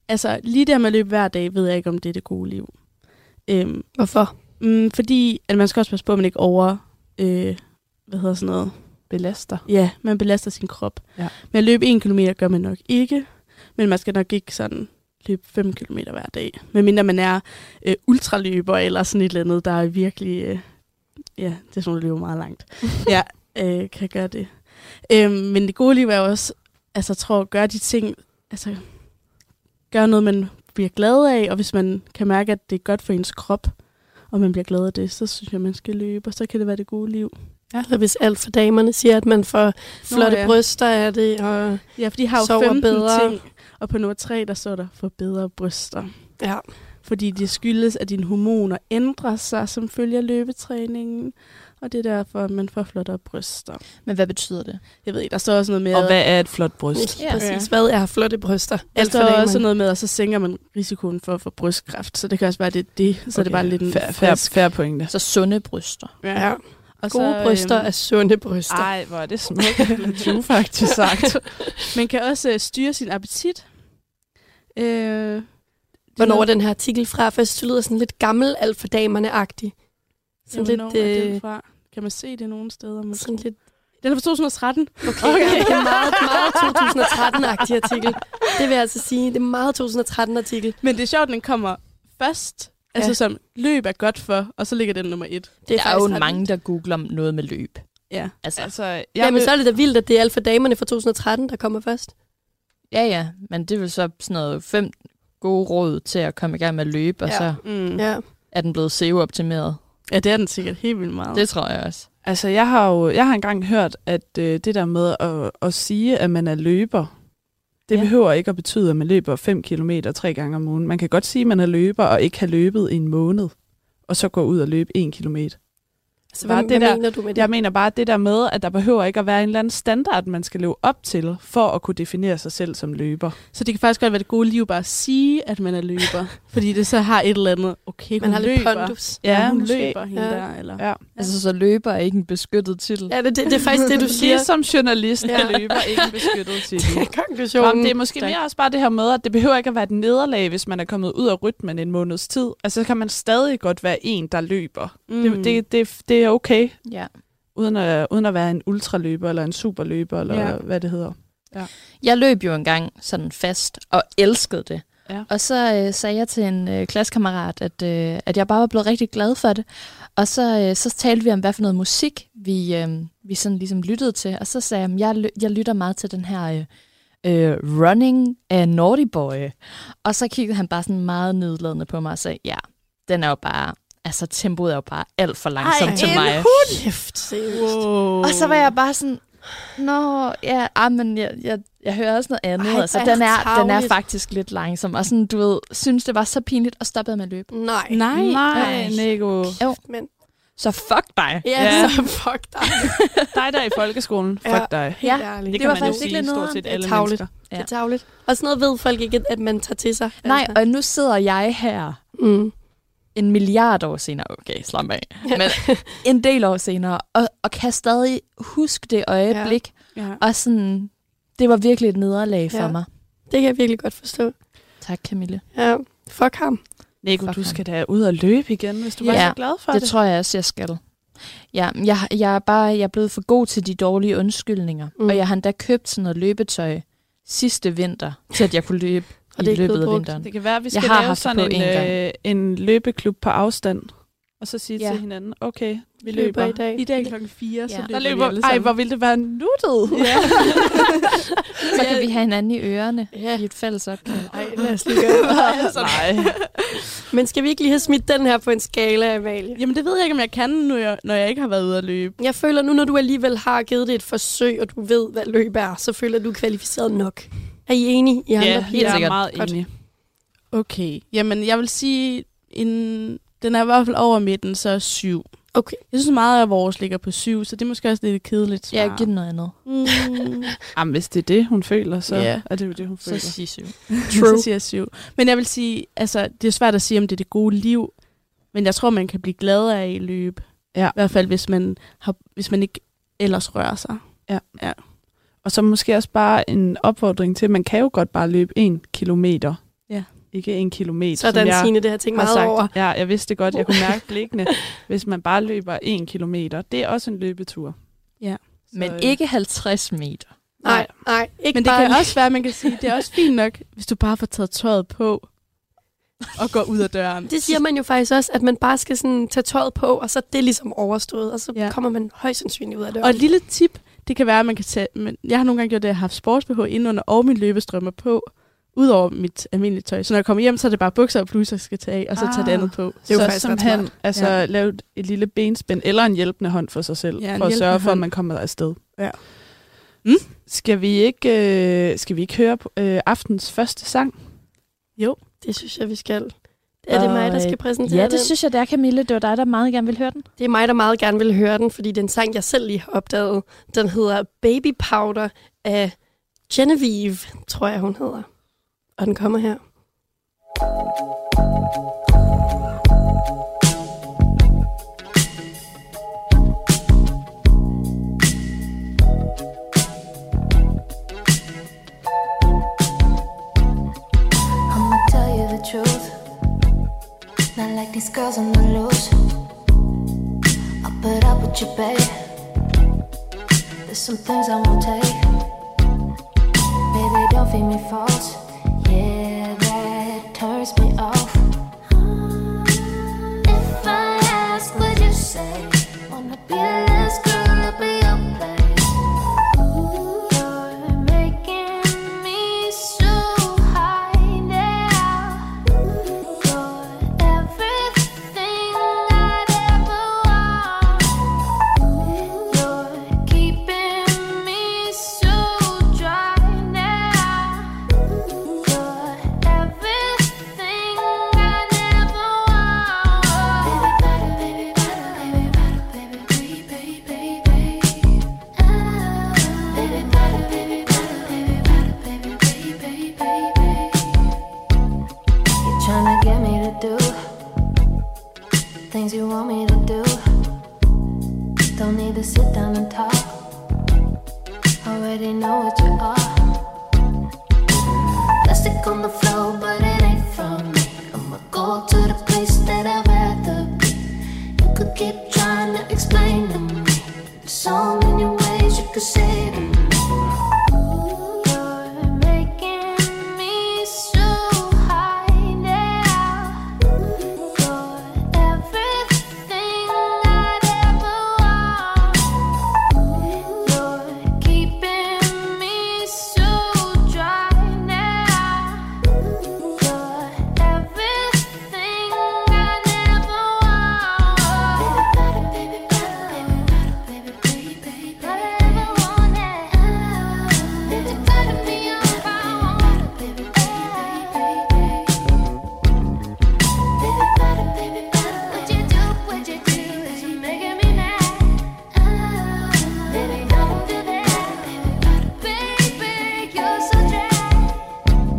[SPEAKER 9] altså lige der med at løbe hver dag, ved jeg ikke, om det er det gode liv. Øhm,
[SPEAKER 12] Hvorfor?
[SPEAKER 9] Mm, fordi at man skal også passe på, at man ikke over... Øh, hvad hedder sådan noget?
[SPEAKER 8] Belaster.
[SPEAKER 9] Ja, man belaster sin krop.
[SPEAKER 8] Ja.
[SPEAKER 9] Men at løbe en kilometer gør man nok ikke. Men man skal nok ikke sådan løbe 5 km hver dag. Medmindre man er øh, ultraløber eller sådan et eller andet, der er virkelig... Øh, ja, det er sådan, der løber meget langt. ja, øh, kan gøre det. Øh, men det gode liv er jo også, altså jeg tror, at gøre de ting, altså gøre noget, man bliver glad af, og hvis man kan mærke, at det er godt for ens krop, og man bliver glad af det, så synes jeg, man skal løbe, og så kan det være det gode liv.
[SPEAKER 10] Ja. Eller hvis alt for damerne siger, at man får flotte
[SPEAKER 9] ja.
[SPEAKER 10] ja. bryster af det, og
[SPEAKER 9] Ja, for de har jo
[SPEAKER 10] sover
[SPEAKER 9] 15
[SPEAKER 10] bedre.
[SPEAKER 9] ting, og på nummer 3, der står der, for bedre bryster.
[SPEAKER 10] Ja.
[SPEAKER 9] Fordi det skyldes, at dine hormoner ændrer sig som følge af løbetræningen, og det er derfor, at man får flottere bryster.
[SPEAKER 6] Men hvad betyder det?
[SPEAKER 9] Jeg ved ikke, der står også noget med...
[SPEAKER 8] Og hvad
[SPEAKER 9] at-
[SPEAKER 8] er et flot bryst?
[SPEAKER 10] Ja. Præcis, hvad er flotte bryster?
[SPEAKER 9] Der
[SPEAKER 10] Alt for
[SPEAKER 9] står
[SPEAKER 10] damerne.
[SPEAKER 9] også noget med, at så sænker man risikoen for at få brystkræft, så det kan også være, at det er det, så okay. det er bare lidt en
[SPEAKER 8] Fær, fær, fær
[SPEAKER 6] Så
[SPEAKER 8] pointe.
[SPEAKER 6] Altså, sunde bryster.
[SPEAKER 9] Ja.
[SPEAKER 10] Ja.
[SPEAKER 9] Og
[SPEAKER 10] Gode bryster
[SPEAKER 9] øhm,
[SPEAKER 10] er sunde bryster.
[SPEAKER 8] Ej, hvor er det smukt. Du faktisk sagt.
[SPEAKER 9] Man kan også øh, styre sin appetit. Øh,
[SPEAKER 10] Hvornår er
[SPEAKER 9] noget-
[SPEAKER 10] den her artikel fra? Først det lyder sådan lidt gammel alt for damerne-agtig. Sådan
[SPEAKER 9] Jamen,
[SPEAKER 10] lidt...
[SPEAKER 9] hvornår er den
[SPEAKER 10] øh,
[SPEAKER 9] fra? Kan man se det nogle steder? måske?
[SPEAKER 10] sådan lidt
[SPEAKER 9] Den er fra 2013.
[SPEAKER 10] Okay, okay. det er meget, meget 2013-agtig artikel. Det vil jeg altså sige. Det er meget 2013-artikel.
[SPEAKER 9] Men det er sjovt, at den kommer først. Ja. Altså som løb er godt for, og så ligger den nummer et.
[SPEAKER 10] Det er
[SPEAKER 6] der er jo
[SPEAKER 10] faktisk ret
[SPEAKER 6] mange, der googler om noget med løb.
[SPEAKER 9] Ja.
[SPEAKER 6] Altså,
[SPEAKER 8] Altså, jeg
[SPEAKER 10] Ja, men
[SPEAKER 8] vil-
[SPEAKER 10] så er det da vildt, at det er alt for damerne fra 2013, der kommer først.
[SPEAKER 6] ja, ja, men det er vel så sådan noget fem gode råd til at komme i gang med at løbe, og
[SPEAKER 10] Ja.
[SPEAKER 6] så
[SPEAKER 9] Mm. Ja.
[SPEAKER 10] Ja.
[SPEAKER 6] er den blevet SEO-optimeret.
[SPEAKER 9] ja, det er den sikkert helt vildt meget.
[SPEAKER 6] Det tror jeg også.
[SPEAKER 8] Altså, jeg har jo jeg har engang hørt, at øh, det der med at, at sige, at man er løber, det
[SPEAKER 9] Ja.
[SPEAKER 8] ja. behøver ikke at betyde, at man løber 5 km tre gange om ugen. Man kan godt sige, at man er løber og ikke har løbet i en måned, og så gå ud og løbe 1 km.
[SPEAKER 10] Altså,
[SPEAKER 8] Bare
[SPEAKER 10] hvad,
[SPEAKER 8] det
[SPEAKER 10] hvad
[SPEAKER 8] der-
[SPEAKER 10] mener du med det?
[SPEAKER 8] Jeg mener bare det der med, at der behøver ikke at være en eller anden standard, man skal leve op til, for at kunne definere sig selv som løber.
[SPEAKER 9] Så det kan faktisk godt være det gode liv bare at sige, at man er løber. fordi det så har et eller andet, okay, hun
[SPEAKER 10] Man har
[SPEAKER 9] løber.
[SPEAKER 10] lidt pondus.
[SPEAKER 9] Ja, hun
[SPEAKER 8] måske.
[SPEAKER 9] løber hende
[SPEAKER 10] Ja.
[SPEAKER 9] der. Eller.
[SPEAKER 8] Ja.
[SPEAKER 6] Altså, så løber er ikke en beskyttet titel.
[SPEAKER 10] Ja, det, det, det er faktisk det, du siger.
[SPEAKER 8] Ligesom journalisten
[SPEAKER 10] Ja.
[SPEAKER 8] ja. løber ikke en beskyttet titel.
[SPEAKER 10] Konklusionen.
[SPEAKER 8] Jamen, det er måske mere også bare det her med, at det behøver ikke at være et nederlag, hvis man er kommet ud af rytmen en måneds tid. Altså, så kan man stadig godt være en, der løber. Mm. Det, det, det, det er okay,
[SPEAKER 6] Ja.
[SPEAKER 8] uden at, uden at være en ultraløber eller en superløber, eller
[SPEAKER 9] Ja.
[SPEAKER 8] ja. hvad det hedder.
[SPEAKER 6] Jeg løb jo engang sådan fast og elskede det.
[SPEAKER 8] Ja.
[SPEAKER 6] Og så øh, sagde jeg til en øh, klassekammerat, at, øh, at jeg bare var blevet rigtig glad for det. Og så, øh, så talte vi om, hvad for noget musik vi, øh, vi sådan ligesom lyttede til. Og så sagde jeg, at jeg, lø- jeg lytter meget til den her øh, øh, Running af Naughty Boy. Og så kiggede han bare sådan meget nedladende på mig og sagde, ja, den er jo bare, altså tempoet er jo bare alt for langsomt
[SPEAKER 10] Ej,
[SPEAKER 6] til
[SPEAKER 10] en
[SPEAKER 6] mig.
[SPEAKER 10] Kæft, seriøst.
[SPEAKER 9] Wow.
[SPEAKER 6] Og så var jeg bare sådan, nå, ja, ah, men jeg, jeg, jeg hører også noget andet.
[SPEAKER 10] Ej,
[SPEAKER 6] Ej, altså,
[SPEAKER 10] hvor er
[SPEAKER 6] den,
[SPEAKER 10] det
[SPEAKER 6] er, den er
[SPEAKER 10] tarveligt.
[SPEAKER 6] faktisk lidt langsom. Og sådan, du ved, synes det var så pinligt, og stoppede med at løbe.
[SPEAKER 10] Nej.
[SPEAKER 9] Nej.
[SPEAKER 8] Nej, Nico.
[SPEAKER 10] Men,
[SPEAKER 6] Så fuck dig.
[SPEAKER 10] ja,
[SPEAKER 8] Ja.
[SPEAKER 10] så fuck dig.
[SPEAKER 8] Dig der er i folkeskolen.
[SPEAKER 10] Ja.
[SPEAKER 8] Fuck dig.
[SPEAKER 10] Helt
[SPEAKER 6] Ja,
[SPEAKER 10] ærligt.
[SPEAKER 8] Det, det
[SPEAKER 6] var
[SPEAKER 8] kan man jo
[SPEAKER 6] faktisk ikke
[SPEAKER 8] sige
[SPEAKER 6] lidt
[SPEAKER 8] stort
[SPEAKER 6] nederen.
[SPEAKER 8] set
[SPEAKER 10] Det er
[SPEAKER 8] alle
[SPEAKER 10] tarveligt.
[SPEAKER 8] mennesker.
[SPEAKER 10] Det
[SPEAKER 6] Ja.
[SPEAKER 10] er tageligt. Og sådan noget ved folk ikke, at man tager til sig.
[SPEAKER 6] Nej,
[SPEAKER 10] Altså.
[SPEAKER 6] og nu sidder jeg her
[SPEAKER 10] Mm.
[SPEAKER 6] en milliard år senere. Okay, slap af. Men en del år senere, og, og kan stadig huske det øjeblik.
[SPEAKER 9] Ja.
[SPEAKER 6] Og sådan, det var virkelig et nederlag for
[SPEAKER 10] Ja.
[SPEAKER 6] mig.
[SPEAKER 10] Det kan jeg virkelig godt forstå.
[SPEAKER 6] Tak, Camille.
[SPEAKER 10] Ja, fuck ham.
[SPEAKER 8] Nico,
[SPEAKER 6] Fuck
[SPEAKER 8] du
[SPEAKER 6] ham.
[SPEAKER 8] skal da ud og løbe igen, hvis du
[SPEAKER 6] Ja,
[SPEAKER 8] var så glad for det.
[SPEAKER 6] Det, tror jeg også, jeg skal. Ja, men jeg, jeg er bare jeg er blevet for god til de dårlige undskyldninger.
[SPEAKER 10] Mm.
[SPEAKER 6] Mm. Og jeg har endda købt sådan noget løbetøj sidste vinter, til at jeg kunne løbe
[SPEAKER 10] Og det
[SPEAKER 6] i
[SPEAKER 10] er ikke
[SPEAKER 6] løbet
[SPEAKER 10] blevet
[SPEAKER 6] af
[SPEAKER 10] brugt.
[SPEAKER 6] vinteren.
[SPEAKER 8] Det kan være, at vi skal
[SPEAKER 6] Jeg har
[SPEAKER 8] lave
[SPEAKER 6] haft det
[SPEAKER 8] sådan
[SPEAKER 6] på én
[SPEAKER 8] en, øh, en løbeklub på afstand, og så sige
[SPEAKER 6] Ja.
[SPEAKER 8] ja. til hinanden, okay, vi
[SPEAKER 10] Løber
[SPEAKER 8] løber.
[SPEAKER 10] i dag.
[SPEAKER 9] I dag klokken 4, så
[SPEAKER 6] Ja.
[SPEAKER 9] løber,
[SPEAKER 8] Der
[SPEAKER 9] vi alle
[SPEAKER 8] løber ej, hvor ville det være nuttet. Ja.
[SPEAKER 6] Så kan vi have hinanden i ørerne
[SPEAKER 10] Ja.
[SPEAKER 6] i et fælles opkald.
[SPEAKER 10] Ej, lad os lige gøre det.
[SPEAKER 8] Nej.
[SPEAKER 10] Men skal vi ikke lige have smidt den her på en skala, Amalie?
[SPEAKER 9] Jamen det ved jeg ikke, om jeg kan, nu jeg, når jeg ikke har været ude at løbe.
[SPEAKER 10] Jeg føler nu, når du alligevel har givet det et forsøg, og du ved, hvad løb er, så føler du, du er kvalificeret nok. Er I enige? I andre
[SPEAKER 8] Ja,
[SPEAKER 10] piger?
[SPEAKER 8] jeg er
[SPEAKER 6] sikkert.
[SPEAKER 8] meget
[SPEAKER 10] Godt.
[SPEAKER 8] enig.
[SPEAKER 9] Okay, jamen jeg vil sige, en, den er i hvert fald over midten, så er syv.
[SPEAKER 10] Okay.
[SPEAKER 9] Jeg synes meget af vores ligger på syv, så det er måske også lidt et kedeligt svar.
[SPEAKER 6] Jeg giver den noget andet.
[SPEAKER 9] mm,
[SPEAKER 8] Jamen, hvis det er det, hun føler, så
[SPEAKER 9] Ja.
[SPEAKER 8] ja. er det jo det, hun
[SPEAKER 6] Så
[SPEAKER 8] føler.
[SPEAKER 6] sig syv.
[SPEAKER 9] True. Så siger jeg syv. Men jeg vil sige, altså det er svært at sige, om det er det gode liv, men jeg tror, man kan blive glad af i løb.
[SPEAKER 8] Ja.
[SPEAKER 9] I hvert fald, hvis man, har, hvis man ikke ellers rører sig.
[SPEAKER 8] Og så måske også bare en opfordring til, at man kan jo godt bare løbe en kilometer.
[SPEAKER 9] Ja.
[SPEAKER 8] Ikke en kilometer,
[SPEAKER 10] Sådan,
[SPEAKER 8] som jeg
[SPEAKER 10] Signe, det har jeg tænkt
[SPEAKER 8] har
[SPEAKER 10] meget
[SPEAKER 8] sagt.
[SPEAKER 10] over.
[SPEAKER 8] Ja, jeg vidste det godt, jeg kunne mærke blikkene. Hvis man bare løber en kilometer, det er også en løbetur.
[SPEAKER 6] Men
[SPEAKER 8] øh,
[SPEAKER 6] ikke 50 meter.
[SPEAKER 3] Nej, nej. Ikke
[SPEAKER 9] Men det
[SPEAKER 3] bare-
[SPEAKER 9] kan også være, man kan sige, det er også fint nok, hvis du bare får taget tøjet på og går ud af døren.
[SPEAKER 3] Det siger man jo faktisk også, at man bare skal sådan tage tøjet på, og så er det ligesom overstået, og så
[SPEAKER 9] Ja.
[SPEAKER 3] ja. kommer man højst sandsynligt ud af døren.
[SPEAKER 9] Og et lille tip, det kan være, at man kan tage... Men jeg har nogle gange gjort det, at jeg har haft sports indenunder og mine løbestrømmer på, udover mit almindelige tøj. Så når jeg kommer hjem, så er det bare bukser og bluser, jeg skal tage af, og så ah, tage det
[SPEAKER 8] Ah.
[SPEAKER 9] andet på.
[SPEAKER 8] Det er jo så faktisk simpelthen, altså ja. lave et- et lille benspænd eller en hjælpende hånd for sig selv,
[SPEAKER 9] Ja,
[SPEAKER 8] ja,
[SPEAKER 9] en
[SPEAKER 8] for at sørge
[SPEAKER 9] hjælpende
[SPEAKER 8] for, at
[SPEAKER 9] hånd.
[SPEAKER 8] man kommer afsted.
[SPEAKER 9] Ja.
[SPEAKER 8] Mm? Skal, vi ikke, øh, skal vi ikke høre på, øh, aftens første sang?
[SPEAKER 9] Jo,
[SPEAKER 3] det synes jeg, vi skal. Er det
[SPEAKER 8] øh,
[SPEAKER 3] mig, der skal præsentere
[SPEAKER 13] Ja, det
[SPEAKER 3] den?
[SPEAKER 13] synes jeg, det er, Camille. Det var dig, der meget gerne vil høre den.
[SPEAKER 3] Det er mig, der meget gerne vil høre den, fordi den sang, jeg selv lige har opdaget, den hedder Baby Powder af Genevieve, tror jeg, hun hedder. Og den kommer her.
[SPEAKER 6] I'ma tell you the truth. Not like these girls on the loose. I put up with you, babe. There's some things I won't take. Baby, don't feed me false. Yeah, that turns me off. If I ask, would you say? Wanna be the last girl to be your place? Ooh, you're making me so high now. You're tryna get me to do things you want me to do. Don't need to sit down and talk. Already know what you are. Plastic on the floor, but it ain't from me. I'ma go to the place that I'd rather be. You could keep trying to explain to me. There's so many ways you could say to me. You're making me so high now. Everything I'd ever want. You're keeping me so dry now. You're everything I never want. Baby, baby, baby, baby, baby, wanted. Baby, better be your power. Baby, baby, baby, baby. What you do, what you do is you making me mad. Oh, baby, don't do that, baby. You're so dry.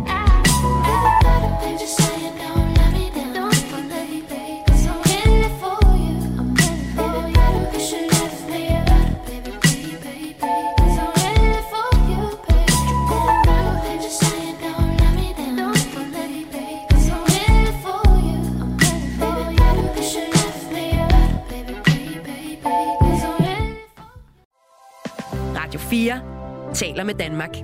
[SPEAKER 6] I'm just saying, don't let me down, don't believe me. 'Cause I'm in it for you, I'm in it for you. You should love me, baby, baby, baby. 'Cause I'm in it for you, baby. I'm just saying, don't let me down, don't believe me. 'Cause I'm in it for you.
[SPEAKER 2] Radio 4 taler med Danmark.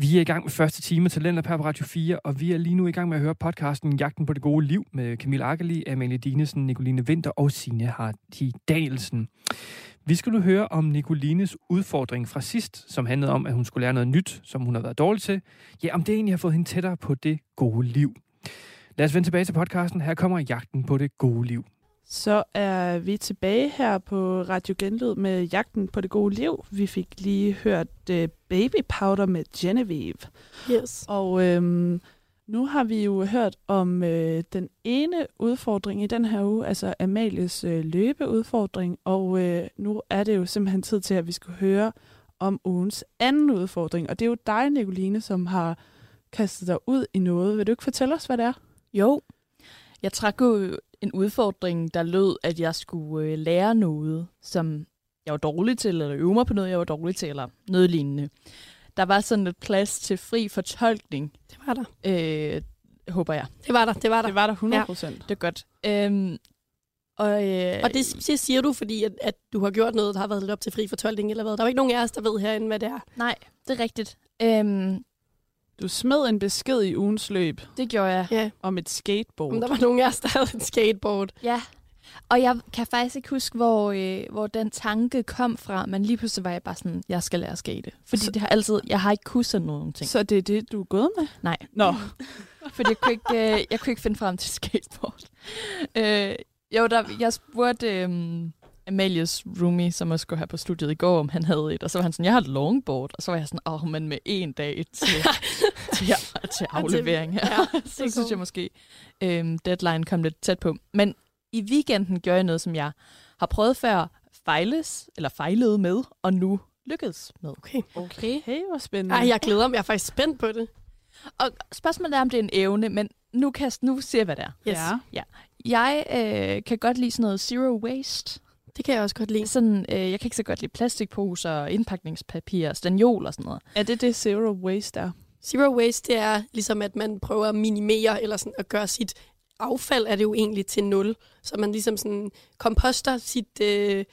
[SPEAKER 4] Vi er i gang med første time til Talenter på Radio 4, og vi er lige nu i gang med at høre podcasten Jagten på det gode liv med Camille Akkeli, Amalie Dinesen, Nicoline Vinter og Signe Harti Dalsen. Vi skal nu høre om Nicolines udfordring fra sidst, som handlede om, at hun skulle lære noget nyt, som hun har været dårlig til. Ja, om det egentlig har fået hende tættere på det gode liv. Lad os vende tilbage til podcasten. Her kommer Jagten på det gode liv.
[SPEAKER 8] Så er vi tilbage her på Radio Genlyd med jagten på det gode liv. Vi fik lige hørt øh, Baby Powder med Genevieve.
[SPEAKER 3] Yes.
[SPEAKER 8] Og øhm, nu har vi jo hørt om øh, den ene udfordring i den her uge, altså Amalies øh, løbeudfordring. Og øh, nu er det jo simpelthen tid til, at vi skal høre om ugens anden udfordring. Og det er jo dig, Nicoline, som har kastet dig ud i noget. Vil du ikke fortælle os, hvad det er?
[SPEAKER 13] Jo. Jeg trak jo en udfordring, der lød, at jeg skulle øh, lære noget, som jeg var dårlig til, eller øve mig på noget, jeg var dårlig til, eller noget lignende. Der var sådan lidt plads til fri fortolkning.
[SPEAKER 3] Det var der.
[SPEAKER 13] Øh, håber jeg.
[SPEAKER 3] Det var der, det var der.
[SPEAKER 8] Det var der
[SPEAKER 13] 100%. Ja. Det er godt. Øhm,
[SPEAKER 9] Og, øh,
[SPEAKER 10] og det siger- siger du, fordi at, at du har gjort noget, der har været lidt op til fri fortolkning eller hvad. Der er jo ikke nogen af os, der ved herinde, hvad det er.
[SPEAKER 6] Nej, det er rigtigt. Øhm,
[SPEAKER 8] Du smed en besked i ugens løb
[SPEAKER 6] det gjorde jeg.
[SPEAKER 10] Ja.
[SPEAKER 8] om et skateboard.
[SPEAKER 10] Men der var nogen af os, der havde en skateboard.
[SPEAKER 6] Ja. Og jeg kan faktisk ikke huske, hvor, øh, hvor den tanke kom fra, men lige pludselig var jeg bare sådan, jeg skal lære at skate. Fordi
[SPEAKER 8] Så-
[SPEAKER 6] det har altid, jeg har ikke kunnet sådan nogle ting.
[SPEAKER 8] Så det er det, du er gået med?
[SPEAKER 6] Nej.
[SPEAKER 8] Nå.
[SPEAKER 6] Fordi jeg kunne ikke, øh, jeg kunne ikke finde frem til skateboard. Øh, jo, der, jeg spurgte øh, Amalias roomie, som også skulle her på studiet i går, om han havde et. Og så var han sådan, jeg har et longboard. Og så var jeg sådan, åh, men med en dag til, til, til aflevering her.
[SPEAKER 10] Ja, det er
[SPEAKER 6] så synes
[SPEAKER 10] cool.
[SPEAKER 6] jeg måske, øh, deadline kom lidt tæt på. Men i weekenden gjorde jeg noget, som jeg har prøvet før, fejles, eller fejlede med, og nu lykkedes med.
[SPEAKER 10] Okay.
[SPEAKER 6] Okay.
[SPEAKER 8] Hey, hvor spændende.
[SPEAKER 10] Ej, jeg glæder mig. Jeg er faktisk spændt på det.
[SPEAKER 6] Og spørgsmålet er, om det er en evne, men nu, kan, jeg- nu ser jeg, hvad det er.
[SPEAKER 10] Yes.
[SPEAKER 8] Ja.
[SPEAKER 6] Ja. Jeg øh, kan godt lide sådan noget zero waste.
[SPEAKER 10] Det kan jeg også godt lide.
[SPEAKER 6] Sådan, øh, jeg kan ikke så godt lide plastikposer, indpakningspapir, stanjol og sådan noget.
[SPEAKER 8] Er det det zero waste er?
[SPEAKER 10] Zero waste, det er ligesom, at man prøver at minimere eller sådan at gøre sit affald, er det jo egentlig til nul. Så man ligesom sådan komposter sit, øh,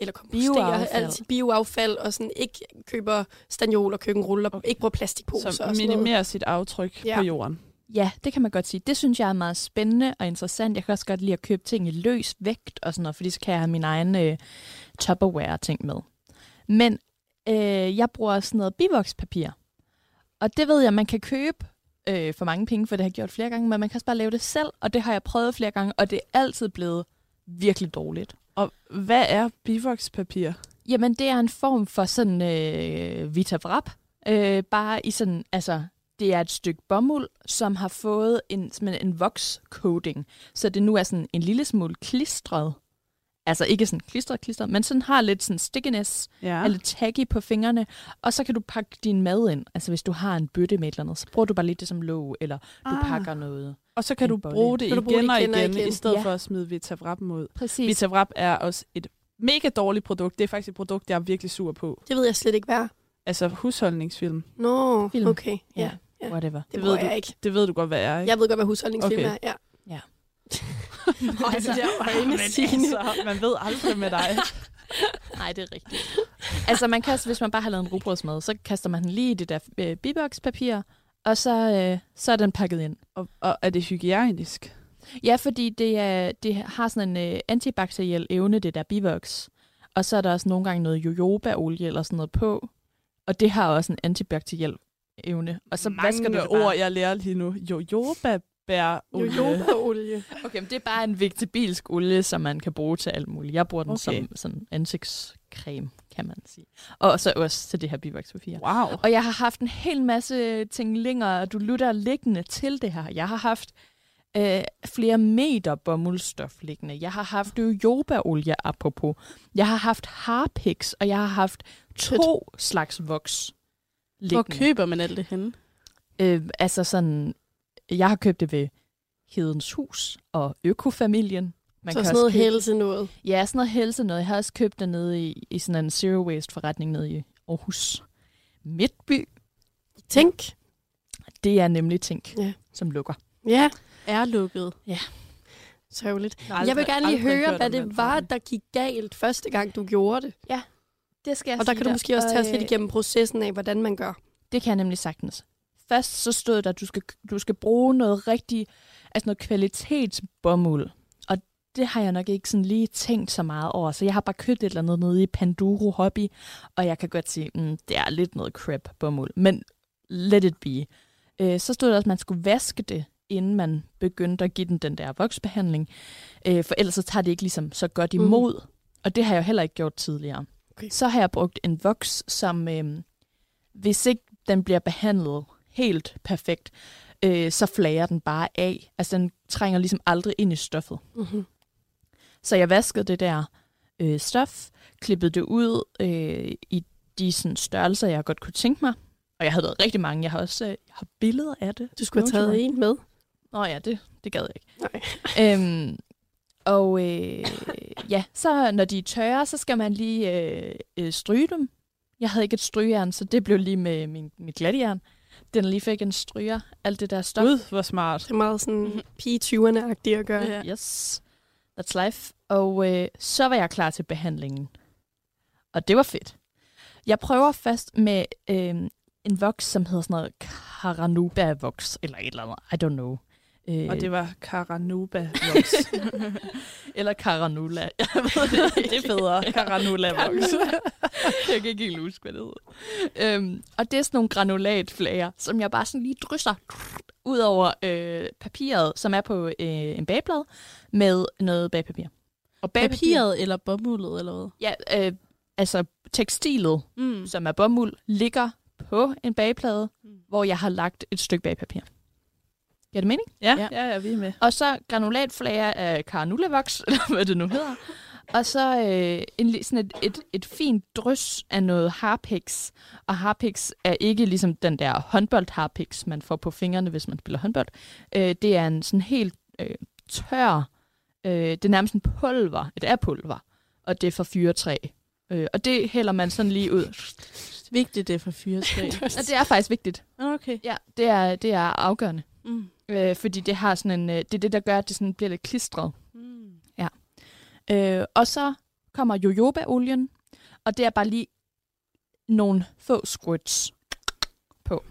[SPEAKER 10] eller komposterer
[SPEAKER 6] Bioaffald.
[SPEAKER 10] alt sit bioaffald, og sådan ikke køber stanjol og køkkenrulle, og ikke bruger plastikposer
[SPEAKER 8] Så
[SPEAKER 10] og sådan noget.
[SPEAKER 8] minimerer sit aftryk
[SPEAKER 10] Ja.
[SPEAKER 8] ja. på jorden.
[SPEAKER 6] Ja, det kan man godt sige. Det synes jeg er meget spændende og interessant. Jeg kan også godt lide at købe ting i løs vægt og sådan noget, fordi så kan jeg have min egen øh, Tupperware-ting med. Men øh, jeg bruger sådan noget bivokspapir. Og det ved jeg, man kan købe øh, for mange penge, for det har jeg gjort flere gange, men man kan også bare lave det selv, og det har jeg prøvet flere gange, og det er altid blevet virkelig dårligt.
[SPEAKER 8] Og hvad er bivokspapir?
[SPEAKER 6] Jamen, det er en form for sådan øh, vitavrap. Øh, bare i sådan, altså, det er et stykke bomuld, som har fået en, simpelthen en vox-coating. Så det nu er sådan en lille smule klistret. Altså ikke sådan klistret, klistret, men sådan har lidt sådan stickiness,
[SPEAKER 8] Ja.
[SPEAKER 6] ja. eller taggy på fingrene. Og så kan du pakke din mad ind. Altså hvis du har en bøtte med et eller andet, så bruger du bare lidt det som låg, eller du
[SPEAKER 8] Ah.
[SPEAKER 6] ah. pakker noget.
[SPEAKER 8] Og så kan
[SPEAKER 6] En
[SPEAKER 8] du
[SPEAKER 6] bolle.
[SPEAKER 8] bruge det,
[SPEAKER 10] Kan du
[SPEAKER 8] igen,
[SPEAKER 10] bruge det
[SPEAKER 8] og
[SPEAKER 10] igen
[SPEAKER 8] igen,
[SPEAKER 10] og igen?
[SPEAKER 8] i stedet
[SPEAKER 6] Ja.
[SPEAKER 8] ja. for at smide Vitavrappen ud.
[SPEAKER 6] Præcis.
[SPEAKER 8] Vitavrap er også et mega dårligt produkt. Det er faktisk et produkt, jeg er virkelig sur på.
[SPEAKER 10] Det ved jeg slet ikke, hvad er.
[SPEAKER 8] Altså husholdningsfilm.
[SPEAKER 10] Nå,
[SPEAKER 6] Film.
[SPEAKER 10] okay. Ja.
[SPEAKER 6] Ja. Whatever.
[SPEAKER 10] Det, det
[SPEAKER 8] ved
[SPEAKER 10] ved
[SPEAKER 8] du.
[SPEAKER 10] jeg ikke.
[SPEAKER 8] Det ved du godt, hvad er, ikke?
[SPEAKER 10] Jeg ved godt, hvad husholdningsfilm
[SPEAKER 8] Okay.
[SPEAKER 10] er. Ja.
[SPEAKER 6] Ja.
[SPEAKER 10] Og altså, det der rene Signe.
[SPEAKER 8] altså, man ved aldrig med dig.
[SPEAKER 6] Nej, det er rigtigt. altså, man kan også, hvis man bare har lavet en rugbrødsmad, så kaster man den lige i det der øh, bibokspapir, og så, øh, så er den pakket ind.
[SPEAKER 8] Og, og er det hygiejnisk?
[SPEAKER 6] Ja, fordi det, er, det har sådan en øh, antibakteriel evne, det der bivoks. Og så er der også nogle gange noget jojobaolie eller sådan noget på, og det har også en antibakteriel evne. Og så vasker du
[SPEAKER 8] Mange
[SPEAKER 6] det bare.
[SPEAKER 8] ord, jeg lærer lige nu. Jojoba bær
[SPEAKER 10] Jojobaolie.
[SPEAKER 6] Okay, men det er bare en vegetabilsk olie, som man kan bruge til alt muligt. Jeg bruger den
[SPEAKER 8] Okay.
[SPEAKER 6] okay. som sådan ansigtscreme, kan man sige. Og så også til det her bivokspapir.
[SPEAKER 8] Wow.
[SPEAKER 6] Og jeg har haft en hel masse ting længere, og du lytter liggende til det her. Jeg har haft øh, flere meter bomuldstof liggende. Jeg har haft jojobaolie, apropos. Jeg har haft harpiks, og jeg har haft to slags voks
[SPEAKER 9] hvor
[SPEAKER 6] liggende.
[SPEAKER 9] køber man alt det henne?
[SPEAKER 6] Øh, altså sådan, jeg har købt det ved Hedens Hus og Økofamilien. Man
[SPEAKER 10] Så
[SPEAKER 6] kan
[SPEAKER 10] sådan
[SPEAKER 6] også
[SPEAKER 10] noget
[SPEAKER 6] købe-
[SPEAKER 10] hælde til noget.
[SPEAKER 6] Ja, sådan noget helse noget. Jeg har også købt det nede i, i sådan en zero waste forretning nede i Aarhus Midtby.
[SPEAKER 10] Tænk.
[SPEAKER 6] Det er nemlig Tænk,
[SPEAKER 10] Ja.
[SPEAKER 6] ja. som lukker.
[SPEAKER 10] Ja.
[SPEAKER 9] Er lukket.
[SPEAKER 10] Sørgeligt.
[SPEAKER 8] Aldrig-
[SPEAKER 10] jeg vil gerne lige
[SPEAKER 8] aldrig
[SPEAKER 10] høre,
[SPEAKER 8] hørt
[SPEAKER 10] hvad
[SPEAKER 8] om den
[SPEAKER 10] det var, der gik galt første gang, du gjorde
[SPEAKER 9] Øh.
[SPEAKER 10] det.
[SPEAKER 6] Det skal jeg Øh,
[SPEAKER 10] Og der kan du måske også tage os lidt igennem processen af, hvordan man gør.
[SPEAKER 6] Det kan jeg nemlig sagtens. Først så stod der, at du skal, du skal bruge noget rigtig, altså noget kvalitetsbomuld. Og det har jeg nok ikke sådan lige tænkt så meget over. Så jeg har bare købt et eller andet nede i Panduro Hobby, og jeg kan godt sige, mm, det er lidt noget crap bomuld, men let it be. Øh, så stod der også, at man skulle vaske det, inden man begyndte at give den den der voksbehandling. Øh, for ellers så tager det ikke ligesom så godt imod. Mm. Og det har jeg jo heller ikke gjort tidligere.
[SPEAKER 10] Okay.
[SPEAKER 6] Så har jeg brugt en voks, som øh, hvis ikke den bliver behandlet helt perfekt, øh, så flager den bare af. Altså den trænger ligesom aldrig ind i stoffet.
[SPEAKER 10] Mm-hmm.
[SPEAKER 6] Så jeg vaskede det der øh, stof, klippede det ud øh, i de sådan, størrelser, jeg godt kunne tænke mig. Og jeg havde lavet rigtig mange. Jeg har også øh, jeg har billeder af det.
[SPEAKER 10] Du skulle have taget
[SPEAKER 6] Jojo.
[SPEAKER 10] en med.
[SPEAKER 6] Nå ja, det, det gad jeg ikke.
[SPEAKER 10] Nej.
[SPEAKER 6] Øhm, og øh, ja, så når de er tørre, så skal man lige øh, øh, stryge dem. Jeg havde ikke et strygejern, så det blev lige med min, mit glatjern. Den lige fik en stryger, alt det der stof.
[SPEAKER 8] Gud, hvor smart.
[SPEAKER 10] Det er meget sådan pige 20'erne-agtigt at gøre.
[SPEAKER 9] Mhm. Ja.
[SPEAKER 6] Yes. That's life. Og øh, så var jeg klar til behandlingen. Og det var fedt. Jeg prøver først med øh, en voks, som hedder sådan noget Caranuba-voks, eller et eller andet. I don't know. Øh,
[SPEAKER 8] Og det var Caranuba-voks.
[SPEAKER 6] eller Caranula. Jeg ved det, ikke.
[SPEAKER 8] Det er federe. Caranula-voks.
[SPEAKER 6] jeg kan ikke helt huske, hvad det hedder. Øhm, og det er sådan nogle granulatflager, som jeg bare sådan lige drysser ud over øh, papiret, som er på øh, en bagblad, med noget bagpapir. Og
[SPEAKER 9] Papiret eller bomuldet eller hvad?
[SPEAKER 6] Ja, øh, altså tekstilet,
[SPEAKER 9] Mm.
[SPEAKER 6] mm. som er bomuld, ligger på en bagplade, mm. hvor jeg har lagt et stykke bagpapir. Giver det mening?
[SPEAKER 8] Ja, ja, ja, vi er med.
[SPEAKER 6] Og så granulatflager af Carnulavox, eller hvad det nu hedder. Og så øh, en, li- sådan et, et, et fint drys af noget harpix. Og harpix er ikke ligesom den der håndbold-harpix, man får på fingrene, hvis man spiller håndbold. Øh, det er en sådan helt øh, tør, øh, det er nærmest en pulver, et A-pulver. Og det er fra fyretræ. Øh, og det hælder man sådan lige ud.
[SPEAKER 9] Vigtigt det er for fyretræ.
[SPEAKER 6] Og det er faktisk vigtigt.
[SPEAKER 9] Okay.
[SPEAKER 6] Ja, det er, det er afgørende.
[SPEAKER 9] Mm.
[SPEAKER 6] Øh, fordi det har sådan en, øh, det er det, der gør, at det sådan bliver lidt klistret.
[SPEAKER 9] Mm.
[SPEAKER 6] Ja. Øh, og så kommer jojobaolien, og det er bare lige nogle få squirts på.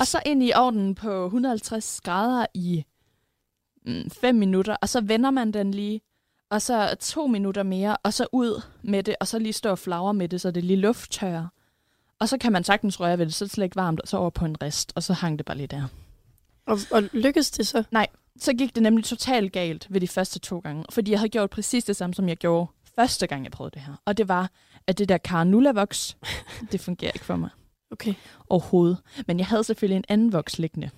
[SPEAKER 6] Og så ind i ovnen på 150 grader i 5 minutter, og så vender man den lige, og så to minutter mere, og så ud med det, og så lige stå og flagre med det, så det lige lufttørrer. Og så kan man sagtens røre ved det, så er det slet ikke varmt, og så over på en rest, og så hang det bare lige der.
[SPEAKER 10] Og, og lykkedes det så?
[SPEAKER 6] Nej, så gik det nemlig totalt galt ved de første to gange, fordi jeg havde gjort præcis det samme, som jeg gjorde første gang, jeg prøvede det her. Og det var, at det der Carnula-voks, det fungerer ikke for mig
[SPEAKER 10] Okay.
[SPEAKER 6] overhovedet. Men jeg havde selvfølgelig en anden voks liggende.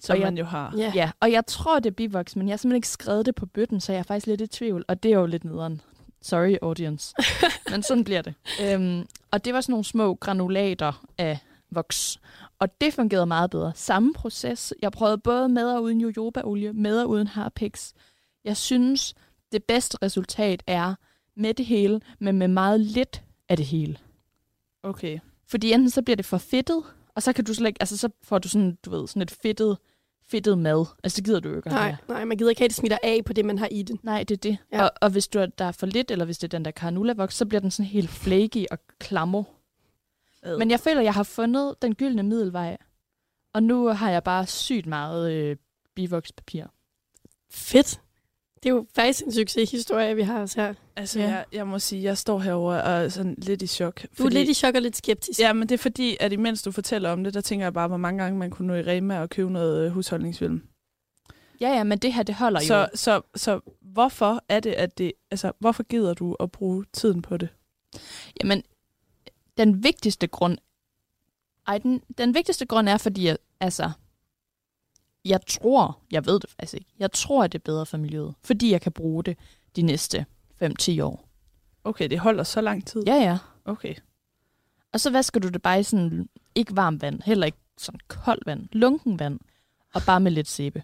[SPEAKER 8] Som
[SPEAKER 6] Og jeg-
[SPEAKER 8] man jo har.
[SPEAKER 10] Ja.
[SPEAKER 6] Ja, og jeg tror, det er bivoks, men jeg har simpelthen ikke skrevet det på bøtten, så jeg er faktisk lidt i tvivl, og det er jo lidt nederen. Sorry, audience. men sådan bliver det. Øhm, og det var sådan nogle små granulater af voks, og det fungerede meget bedre. Samme proces. Jeg prøvede både med og uden jojobaolie, med og uden harpix. Jeg synes, det bedste resultat er med det hele, men med meget lidt af det hele.
[SPEAKER 8] Okay.
[SPEAKER 6] Fordi enten så bliver det for fedtet, og så kan du slet ikke, altså så får du sådan, du ved, sådan et fedtet, fedtet mad. Altså det gider du jo ikke at
[SPEAKER 10] Nej,
[SPEAKER 6] have.
[SPEAKER 10] nej, man gider ikke have, at det smitter af på det, man har i det.
[SPEAKER 6] Nej, det er det.
[SPEAKER 10] Ja.
[SPEAKER 6] Ja. Og, og hvis du er, der er for lidt, eller hvis det er den der karnulavoks, så bliver den sådan helt flaky og klammer. Men jeg føler, jeg har fundet den gyldne middelvej. Og nu har jeg bare sygt meget øh, bivokspapir.
[SPEAKER 10] Fedt. Det er jo faktisk en succeshistorie, vi har os her.
[SPEAKER 8] Altså,
[SPEAKER 6] Ja.
[SPEAKER 8] jeg, jeg må sige, jeg står herover og er sådan lidt i chok.
[SPEAKER 10] Du er lidt i chok og lidt skeptisk.
[SPEAKER 8] Ja, men det er fordi, at imens du fortæller om det, der tænker jeg bare, hvor mange gange man kunne nå i Rema og købe noget øh, husholdningsfilm.
[SPEAKER 6] Ja, ja, men det her, det holder
[SPEAKER 8] Så,
[SPEAKER 6] jo.
[SPEAKER 8] så, så hvorfor er det, at det... Altså, hvorfor gider du at bruge tiden på det?
[SPEAKER 6] Jamen, den vigtigste grund... Ej, den, den vigtigste grund er, fordi jeg, altså, jeg tror, jeg ved det faktisk ikke, jeg tror, at det er bedre for miljøet, fordi jeg kan bruge det de næste 5-10 år.
[SPEAKER 8] Okay, det holder så lang tid.
[SPEAKER 6] Ja, ja.
[SPEAKER 8] Okay.
[SPEAKER 6] Og så vasker du det bare i sådan, ikke varmt vand, heller ikke sådan koldt vand, lunken vand, og bare med lidt sæbe.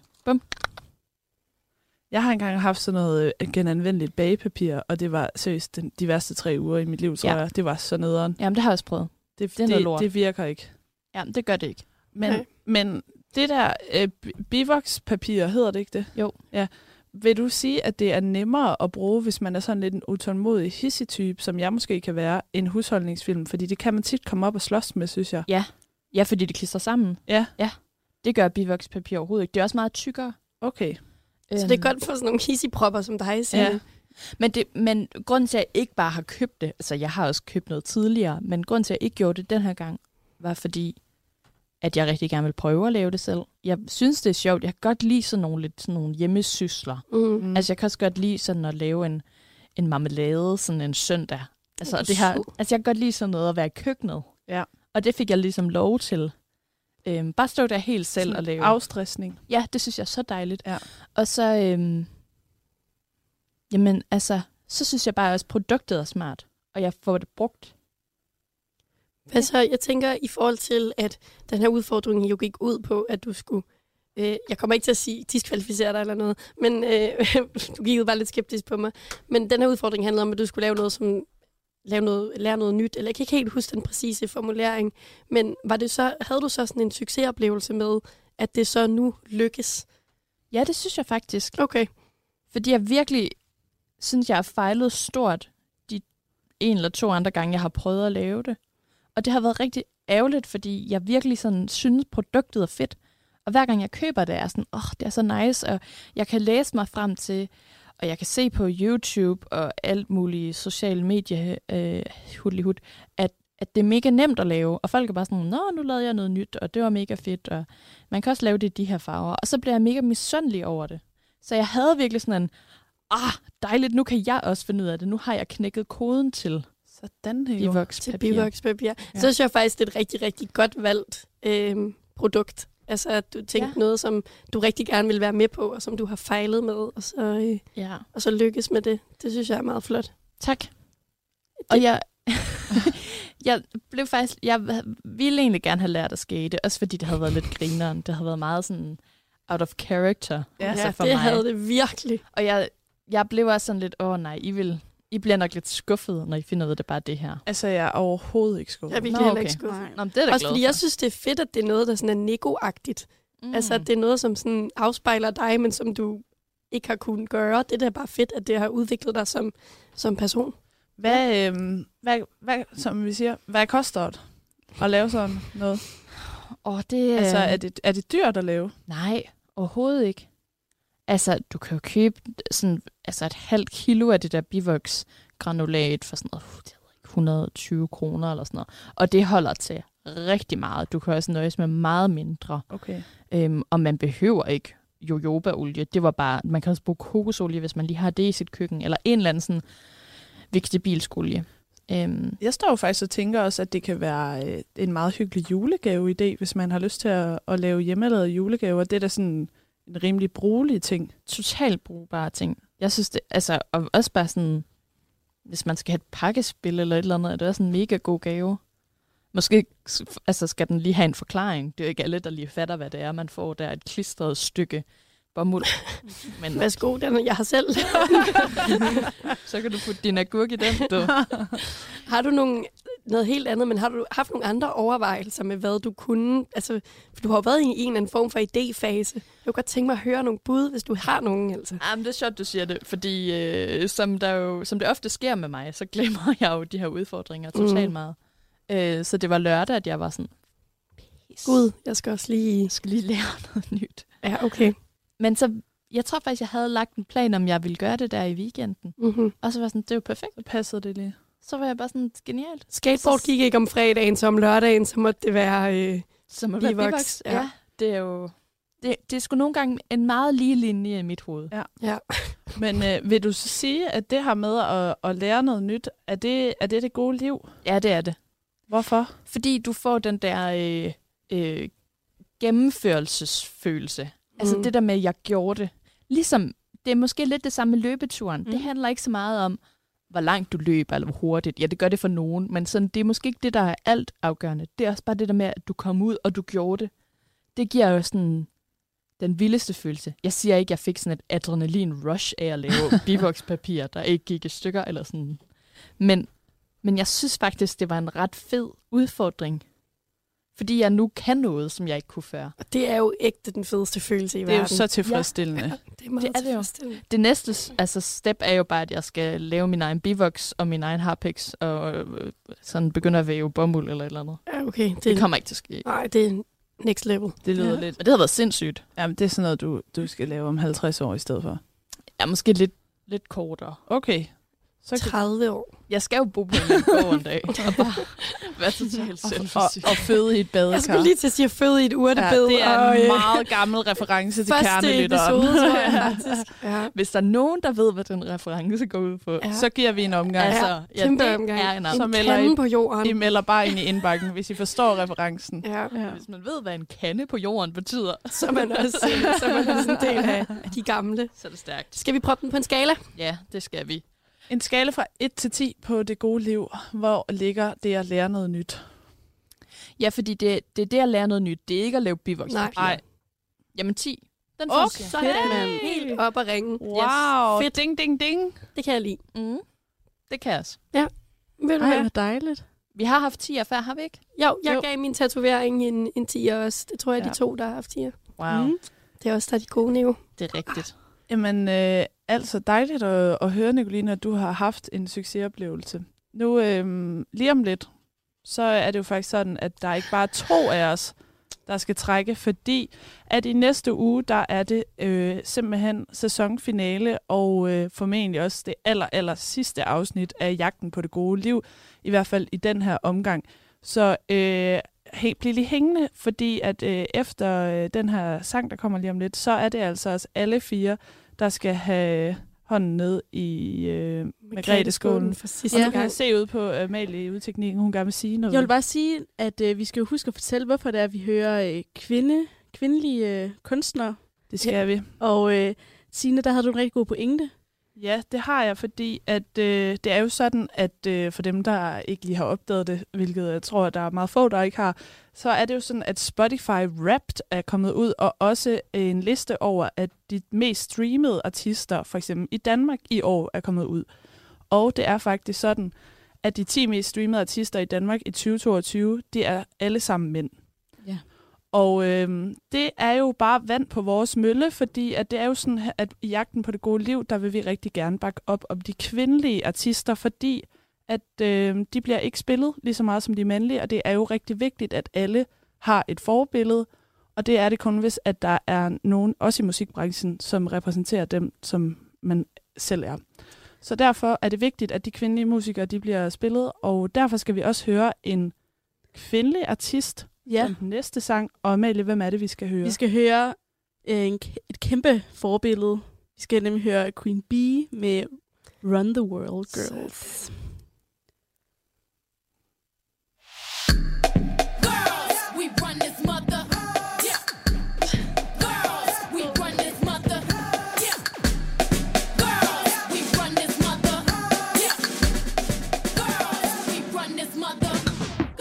[SPEAKER 8] Jeg har engang haft sådan noget øh, genanvendeligt bagepapir, og det var seriøst den, de værste tre uger i mit liv, tror ja.
[SPEAKER 6] Ja.
[SPEAKER 8] jeg. Det var så nederen.
[SPEAKER 6] Jamen, det har jeg også prøvet.
[SPEAKER 8] Det,
[SPEAKER 6] er noget lort.
[SPEAKER 8] det virker ikke.
[SPEAKER 6] Jamen, det gør det ikke.
[SPEAKER 8] Men,
[SPEAKER 10] Nej.
[SPEAKER 8] men det der øh, bi- bivokspapir, hedder det ikke det?
[SPEAKER 6] Jo.
[SPEAKER 8] Ja. Vil du sige, at det er nemmere at bruge, hvis man er sådan lidt en utålmodig hissig-type, som jeg måske kan være, en husholdningsfilm? Fordi det kan man tit komme op og slås med, synes jeg.
[SPEAKER 6] Ja, fordi det klister sammen.
[SPEAKER 8] Ja.
[SPEAKER 6] Ja. Det gør bivokspapir overhovedet ikke. Det er også meget tykkere.
[SPEAKER 8] Okay.
[SPEAKER 10] Så det er godt for sådan nogle hissigpropper som dig, Signe.
[SPEAKER 6] Øhm, Ja. Men, det, men grunden til, at jeg ikke bare har købt det, altså jeg har også købt noget tidligere, men grunden til, at jeg ikke gjorde det den her gang, var fordi, at jeg rigtig gerne vil prøve at lave det selv. Jeg synes, det er sjovt. Jeg kan godt lide sådan nogle, lidt, sådan nogle hjemmesysler.
[SPEAKER 10] Mm.
[SPEAKER 6] Mm. Altså, jeg kan også godt lide sådan at lave en, en marmelade sådan en søndag. Altså,
[SPEAKER 10] Åh,
[SPEAKER 6] og det her,
[SPEAKER 10] sød.
[SPEAKER 6] altså, jeg kan godt lide sådan noget at være i køkkenet.
[SPEAKER 8] Ja.
[SPEAKER 6] Og det fik jeg ligesom lov til. Øhm, bare stå der helt selv
[SPEAKER 8] Sådan
[SPEAKER 6] og lave.
[SPEAKER 8] Afstressning.
[SPEAKER 6] Ja, det synes jeg er så dejligt.
[SPEAKER 8] Ja.
[SPEAKER 6] Og så, øhm, jamen altså, så synes jeg bare også, at produktet er smart, og jeg får det brugt.
[SPEAKER 10] Altså, jeg tænker i forhold til, at den her udfordring jo gik ud på, at du skulle... Øh, jeg kommer ikke til at sige, diskvalificere dig eller noget, men øh, du kiggede bare lidt skeptisk på mig. Men den her udfordring handlede om, at du skulle lave noget, som lave noget, lære noget nyt, eller jeg kan ikke helt huske den præcise formulering, men var det så, havde du så sådan en succesoplevelse med, at det så nu lykkes?
[SPEAKER 6] Ja, det synes jeg faktisk.
[SPEAKER 10] Okay.
[SPEAKER 6] Fordi jeg virkelig synes, jeg har fejlet stort de en eller to andre gange, jeg har prøvet at lave det. Og det har været rigtig ærgerligt, fordi jeg virkelig sådan synes, produktet er fedt. Og hver gang jeg køber det, er jeg sådan, åh, oh, det er så nice, og jeg kan læse mig frem til, og jeg kan se på YouTube og alt muligt sociale medier, øh, hudlihud, at, at det er mega nemt at lave. Og folk er bare sådan, nå, nu lavede jeg noget nyt, og det var mega fedt, og man kan også lave det i de her farver. Og så bliver jeg mega misundelig over det. Så jeg havde virkelig sådan en, ah, dejligt, nu kan jeg også finde ud af det. Nu har jeg knækket koden til
[SPEAKER 8] Sådan her.
[SPEAKER 6] bivokspapir.
[SPEAKER 9] Til bivokspapir. Ja. Så synes jeg faktisk, det er et rigtig, rigtig godt valgt øh, produkt. Altså, at du tænkte ja.
[SPEAKER 6] Ja.
[SPEAKER 9] noget, som du rigtig gerne vil være med på, og som du har fejlet med, og så, øh,
[SPEAKER 6] Ja.
[SPEAKER 9] og så lykkes med det. Det synes jeg er meget flot.
[SPEAKER 6] Tak. Og jeg, jeg blev faktisk, jeg ville egentlig gerne have lært at skate, også fordi det havde været lidt grineren. Det havde været meget sådan out of character.
[SPEAKER 9] Ja,
[SPEAKER 6] altså for
[SPEAKER 9] det
[SPEAKER 6] mig.
[SPEAKER 9] havde det virkelig.
[SPEAKER 6] Og jeg, jeg blev også sådan lidt, åh oh, nej, I, vil, I bliver nok lidt skuffet, når I finder ud af det er bare det her.
[SPEAKER 8] Altså, jeg er overhovedet ikke skuffet.
[SPEAKER 9] Jeg er virkelig
[SPEAKER 6] Nå,
[SPEAKER 9] heller
[SPEAKER 6] okay.
[SPEAKER 9] ikke skuffet.
[SPEAKER 6] Nå, men det er da
[SPEAKER 9] Også fordi
[SPEAKER 6] glad
[SPEAKER 9] jeg synes, det er fedt, at det er noget, der sådan er negoagtigt. Mm. Altså, at det er noget, som sådan afspejler dig, men som du ikke har kunnet gøre. Det er da bare fedt, at det har udviklet dig som, som person.
[SPEAKER 8] Hvad, øhm, hvad, hvad, som vi siger, hvad koster det at lave sådan noget?
[SPEAKER 6] Åh, det,
[SPEAKER 8] Altså,
[SPEAKER 6] øhm,
[SPEAKER 8] er det, er det dyrt at lave?
[SPEAKER 6] Nej, overhovedet ikke. Altså, du kan jo købe sådan, altså et halvt kilo af det der bivoksgranulat for sådan noget, uh, det ved jeg ikke, 120 kroner eller sådan noget. Og det holder til rigtig meget. Du kan også nøjes med meget mindre.
[SPEAKER 8] Okay.
[SPEAKER 6] Øhm, og man behøver ikke jojobaolie. Det var bare, man kan også bruge kokosolie, hvis man lige har det i sit køkken. Eller en eller anden sådan vegetabilskolie. Øhm,
[SPEAKER 8] Jeg står jo faktisk og tænker også, at det kan være øh, en meget hyggelig julegave-idé, hvis man har lyst til at, at lave hjemmelavede julegaver. Det er da sådan en rimelig brugelig ting.
[SPEAKER 6] totalt brugbare ting. Jeg synes det, altså, og også bare sådan, hvis man skal have et pakkespil eller et eller andet, er det også en mega god gave. Måske s- altså, skal den lige have en forklaring. Det er jo ikke alle, der lige fatter, hvad det er, man får. Der er et klistret stykke bomuld. Men
[SPEAKER 9] Værsgo, den jeg har selv.
[SPEAKER 6] så kan du putte din agurk i den. Du.
[SPEAKER 9] har du nogle, noget helt andet, men har du haft nogle andre overvejelser med, hvad du kunne? Altså, for du har jo været i en eller anden form for idéfase. Jeg kunne godt tænke mig at høre nogle bud, hvis du har nogen, altså.
[SPEAKER 6] Ah, men det er sjovt, du siger det, fordi øh, som, der jo, som det ofte sker med mig, så glemmer jeg jo de her udfordringer totalt
[SPEAKER 9] Mm.
[SPEAKER 6] mm. meget. Øh, så det var lørdag, at jeg var sådan,
[SPEAKER 9] Gud, jeg skal også lige...
[SPEAKER 6] jeg skal lige lære noget nyt.
[SPEAKER 9] Ja, okay.
[SPEAKER 6] Men så, jeg tror faktisk, jeg havde lagt en plan, om jeg ville gøre det der i weekenden.
[SPEAKER 9] Mm-hmm.
[SPEAKER 6] Og så var jeg sådan, det er jo perfekt.
[SPEAKER 8] Så passede det lige.
[SPEAKER 6] Så var jeg bare sådan, genialt.
[SPEAKER 9] Skateboard gik ikke om fredagen, så om lørdagen, så måtte det være... Øh,
[SPEAKER 6] Som at
[SPEAKER 9] være
[SPEAKER 6] være
[SPEAKER 9] bivoks,
[SPEAKER 6] bivoks.
[SPEAKER 9] ja.
[SPEAKER 6] Ja, det er jo... Det, det er sgu nogle gange en meget lige linje i mit hoved.
[SPEAKER 9] ja.
[SPEAKER 8] Men øh, vil du så sige, at det her med at, at lære noget nyt, er det, er det det gode liv?
[SPEAKER 6] Ja, det er det.
[SPEAKER 8] Hvorfor?
[SPEAKER 6] Fordi du får den der øh, øh, gennemførelsesfølelse. Mm. Altså
[SPEAKER 9] Mm.
[SPEAKER 6] det der med, at jeg gjorde det. Ligesom, det er måske lidt det samme med løbeturen. Mm. Det handler ikke så meget om, hvor langt du løber, eller hvor hurtigt. Ja, det gør det for nogen, men sådan, det er måske ikke det, der er alt afgørende. Det er også bare det der med, at du kom ud, og du gjorde det. Det giver jo sådan den vildeste følelse. Jeg siger ikke, at jeg fik sådan et adrenalin-rush af at lave bivokspapir, der ikke gik i stykker, eller sådan. Men, men jeg synes faktisk, det var en ret fed udfordring. Fordi jeg nu kan noget, som jeg ikke kunne før.
[SPEAKER 9] Og det er jo ægte den fedeste følelse i
[SPEAKER 8] Det er jo
[SPEAKER 9] verden.
[SPEAKER 8] så tilfredsstillende. Ja.
[SPEAKER 9] det er meget
[SPEAKER 6] det er det jo.
[SPEAKER 9] tilfredsstillende.
[SPEAKER 6] Det næste s- altså, step er jo bare, at jeg skal lave min egen bivoks og min egen harpix, og øh, sådan begynde at væve bomuld eller et eller andet.
[SPEAKER 9] Ja, okay. Det,
[SPEAKER 6] Det kommer ikke til at ske.
[SPEAKER 9] Nej, det er next level.
[SPEAKER 8] Det lyder ja.
[SPEAKER 6] Men
[SPEAKER 8] lidt.
[SPEAKER 6] det har været sindssygt.
[SPEAKER 8] Jamen, det er sådan noget, du, du skal lave om 50 år i stedet for.
[SPEAKER 6] Ja, måske lidt, lidt kortere.
[SPEAKER 8] Okay. Så kan,
[SPEAKER 9] 30 år.
[SPEAKER 6] Jeg skal jo bo på en gård en dag, og bare være totalt
[SPEAKER 8] og,
[SPEAKER 6] selvforsynet.
[SPEAKER 8] og føde i et badekar.
[SPEAKER 9] Jeg skulle lige til at sige, at føde i et urtebed.
[SPEAKER 8] det er
[SPEAKER 9] og,
[SPEAKER 8] en
[SPEAKER 9] øh,
[SPEAKER 8] meget gammel reference til
[SPEAKER 9] første episode,
[SPEAKER 8] kernelytteren.
[SPEAKER 9] tror jeg faktisk. Ja.
[SPEAKER 6] Hvis der er nogen, der ved, hvad den reference går ud på, ja.
[SPEAKER 9] Ja.
[SPEAKER 8] Så giver vi en omgang.
[SPEAKER 6] altså,
[SPEAKER 9] Ja,
[SPEAKER 6] ja,
[SPEAKER 9] kæmpe
[SPEAKER 6] det
[SPEAKER 9] omgang.
[SPEAKER 6] er en
[SPEAKER 8] Så
[SPEAKER 6] omgang.
[SPEAKER 9] en
[SPEAKER 8] melder
[SPEAKER 9] kande
[SPEAKER 8] I-
[SPEAKER 9] på jorden.
[SPEAKER 8] I melder bare ind i indbakken, hvis I forstår referencen.
[SPEAKER 9] Ja,
[SPEAKER 6] Hvis man ved, hvad en kande på jorden betyder,
[SPEAKER 9] så er man også, så er man også en del af af de gamle.
[SPEAKER 6] så er det stærkt.
[SPEAKER 9] Skal vi proppe den på en skala?
[SPEAKER 6] Ja, det skal vi.
[SPEAKER 8] En skala fra 1 til 10 på det gode liv. Hvor ligger det at lære noget nyt?
[SPEAKER 6] Ja, fordi det, det er det at lære noget nyt. Det er ikke at lave bivokspapir.
[SPEAKER 9] Nej.
[SPEAKER 6] Jamen 10. Den
[SPEAKER 8] Okay.
[SPEAKER 6] synes
[SPEAKER 9] Så
[SPEAKER 6] jeg.
[SPEAKER 9] er den
[SPEAKER 8] Hey!
[SPEAKER 9] helt op at ringe.
[SPEAKER 8] Wow,
[SPEAKER 9] Yes,
[SPEAKER 8] yes.
[SPEAKER 9] fedt.
[SPEAKER 8] ding, ding, ding.
[SPEAKER 9] Det kan jeg lide.
[SPEAKER 6] Mm. Det kan jeg også.
[SPEAKER 9] Ved du
[SPEAKER 14] Ej,
[SPEAKER 9] hvad?
[SPEAKER 14] hvor dejligt.
[SPEAKER 6] Vi har haft 10 før, har vi ikke?
[SPEAKER 9] Jo, jeg
[SPEAKER 8] Jo.
[SPEAKER 9] gav min tatovering en, en 10'er også. Det tror jeg, ja.
[SPEAKER 8] Ja.
[SPEAKER 9] de to, der har haft 10'er.
[SPEAKER 6] Wow.
[SPEAKER 9] Mm. Det er også der er de gode, Neo.
[SPEAKER 6] Ah, Det er rigtigt.
[SPEAKER 8] Jamen, øh, Altså dejligt at, at høre, Nicoline, at du har haft en succesoplevelse. Nu øhm, lige om lidt, så er det jo faktisk sådan, at der ikke bare er to af os, der skal trække, fordi at i næste uge, der er det øh, simpelthen sæsonfinale, og øh, formentlig også det aller, aller sidste afsnit af Jagten på det gode liv, i hvert fald i den her omgang. Så øh, helt bliv lige hængende, fordi at øh, efter øh, den her sang, der kommer lige om lidt, så er det altså os alle fire, der skal have hånden ned i øh, Margrethe-skålen.
[SPEAKER 10] for sidste
[SPEAKER 8] Og du kan
[SPEAKER 10] gang.
[SPEAKER 8] se ud på øh, Malie i udteknikken, hun gerne vil sige noget.
[SPEAKER 9] Jeg vil bare sige, at øh, vi skal jo huske at fortælle, hvorfor det er, at vi hører øh, kvinde, kvindelige øh, kunstnere.
[SPEAKER 8] Det skal vi.
[SPEAKER 9] Og øh, Signe, der havde du en rigtig god pointe.
[SPEAKER 8] Ja, det har jeg, fordi at, øh, det er jo sådan, at øh, for dem, der ikke lige har opdaget det, hvilket jeg tror, der er meget få, der ikke har, så er det jo sådan, at Spotify Wrapped er kommet ud, og også en liste over, at de mest streamede artister, for eksempel i Danmark i år, er kommet ud. Og det er faktisk sådan, at de 10 mest streamede artister i Danmark i 2022, de er alle sammen mænd.
[SPEAKER 9] Ja.
[SPEAKER 8] Og øhm, det er jo bare vand på vores mølle, fordi at det er jo sådan, at i jagten på det gode liv, der vil vi rigtig gerne bakke op om de kvindelige artister, fordi at øhm, de bliver ikke spillet lige så meget som de mandlige, og det er jo rigtig vigtigt, at alle har et forbillede, og det er det kun, hvis at der er nogen, også i musikbranchen, som repræsenterer dem, som man selv er. Så derfor er det vigtigt, at de kvindelige musikere de bliver spillet, og derfor skal vi også høre en kvindelig artist
[SPEAKER 9] Ja.
[SPEAKER 8] som den næste sang. Og Amalie, hvem er det, vi skal høre?
[SPEAKER 9] Vi skal høre øh, en, k- et kæmpe forbillede. Vi skal nemlig høre Queen Bee med Run the World Girls.
[SPEAKER 15] Girls, we run this mother. Yeah. Girls, we run this mother. Yeah. Girls, we run this mother. Yeah. Girls, we run this mother.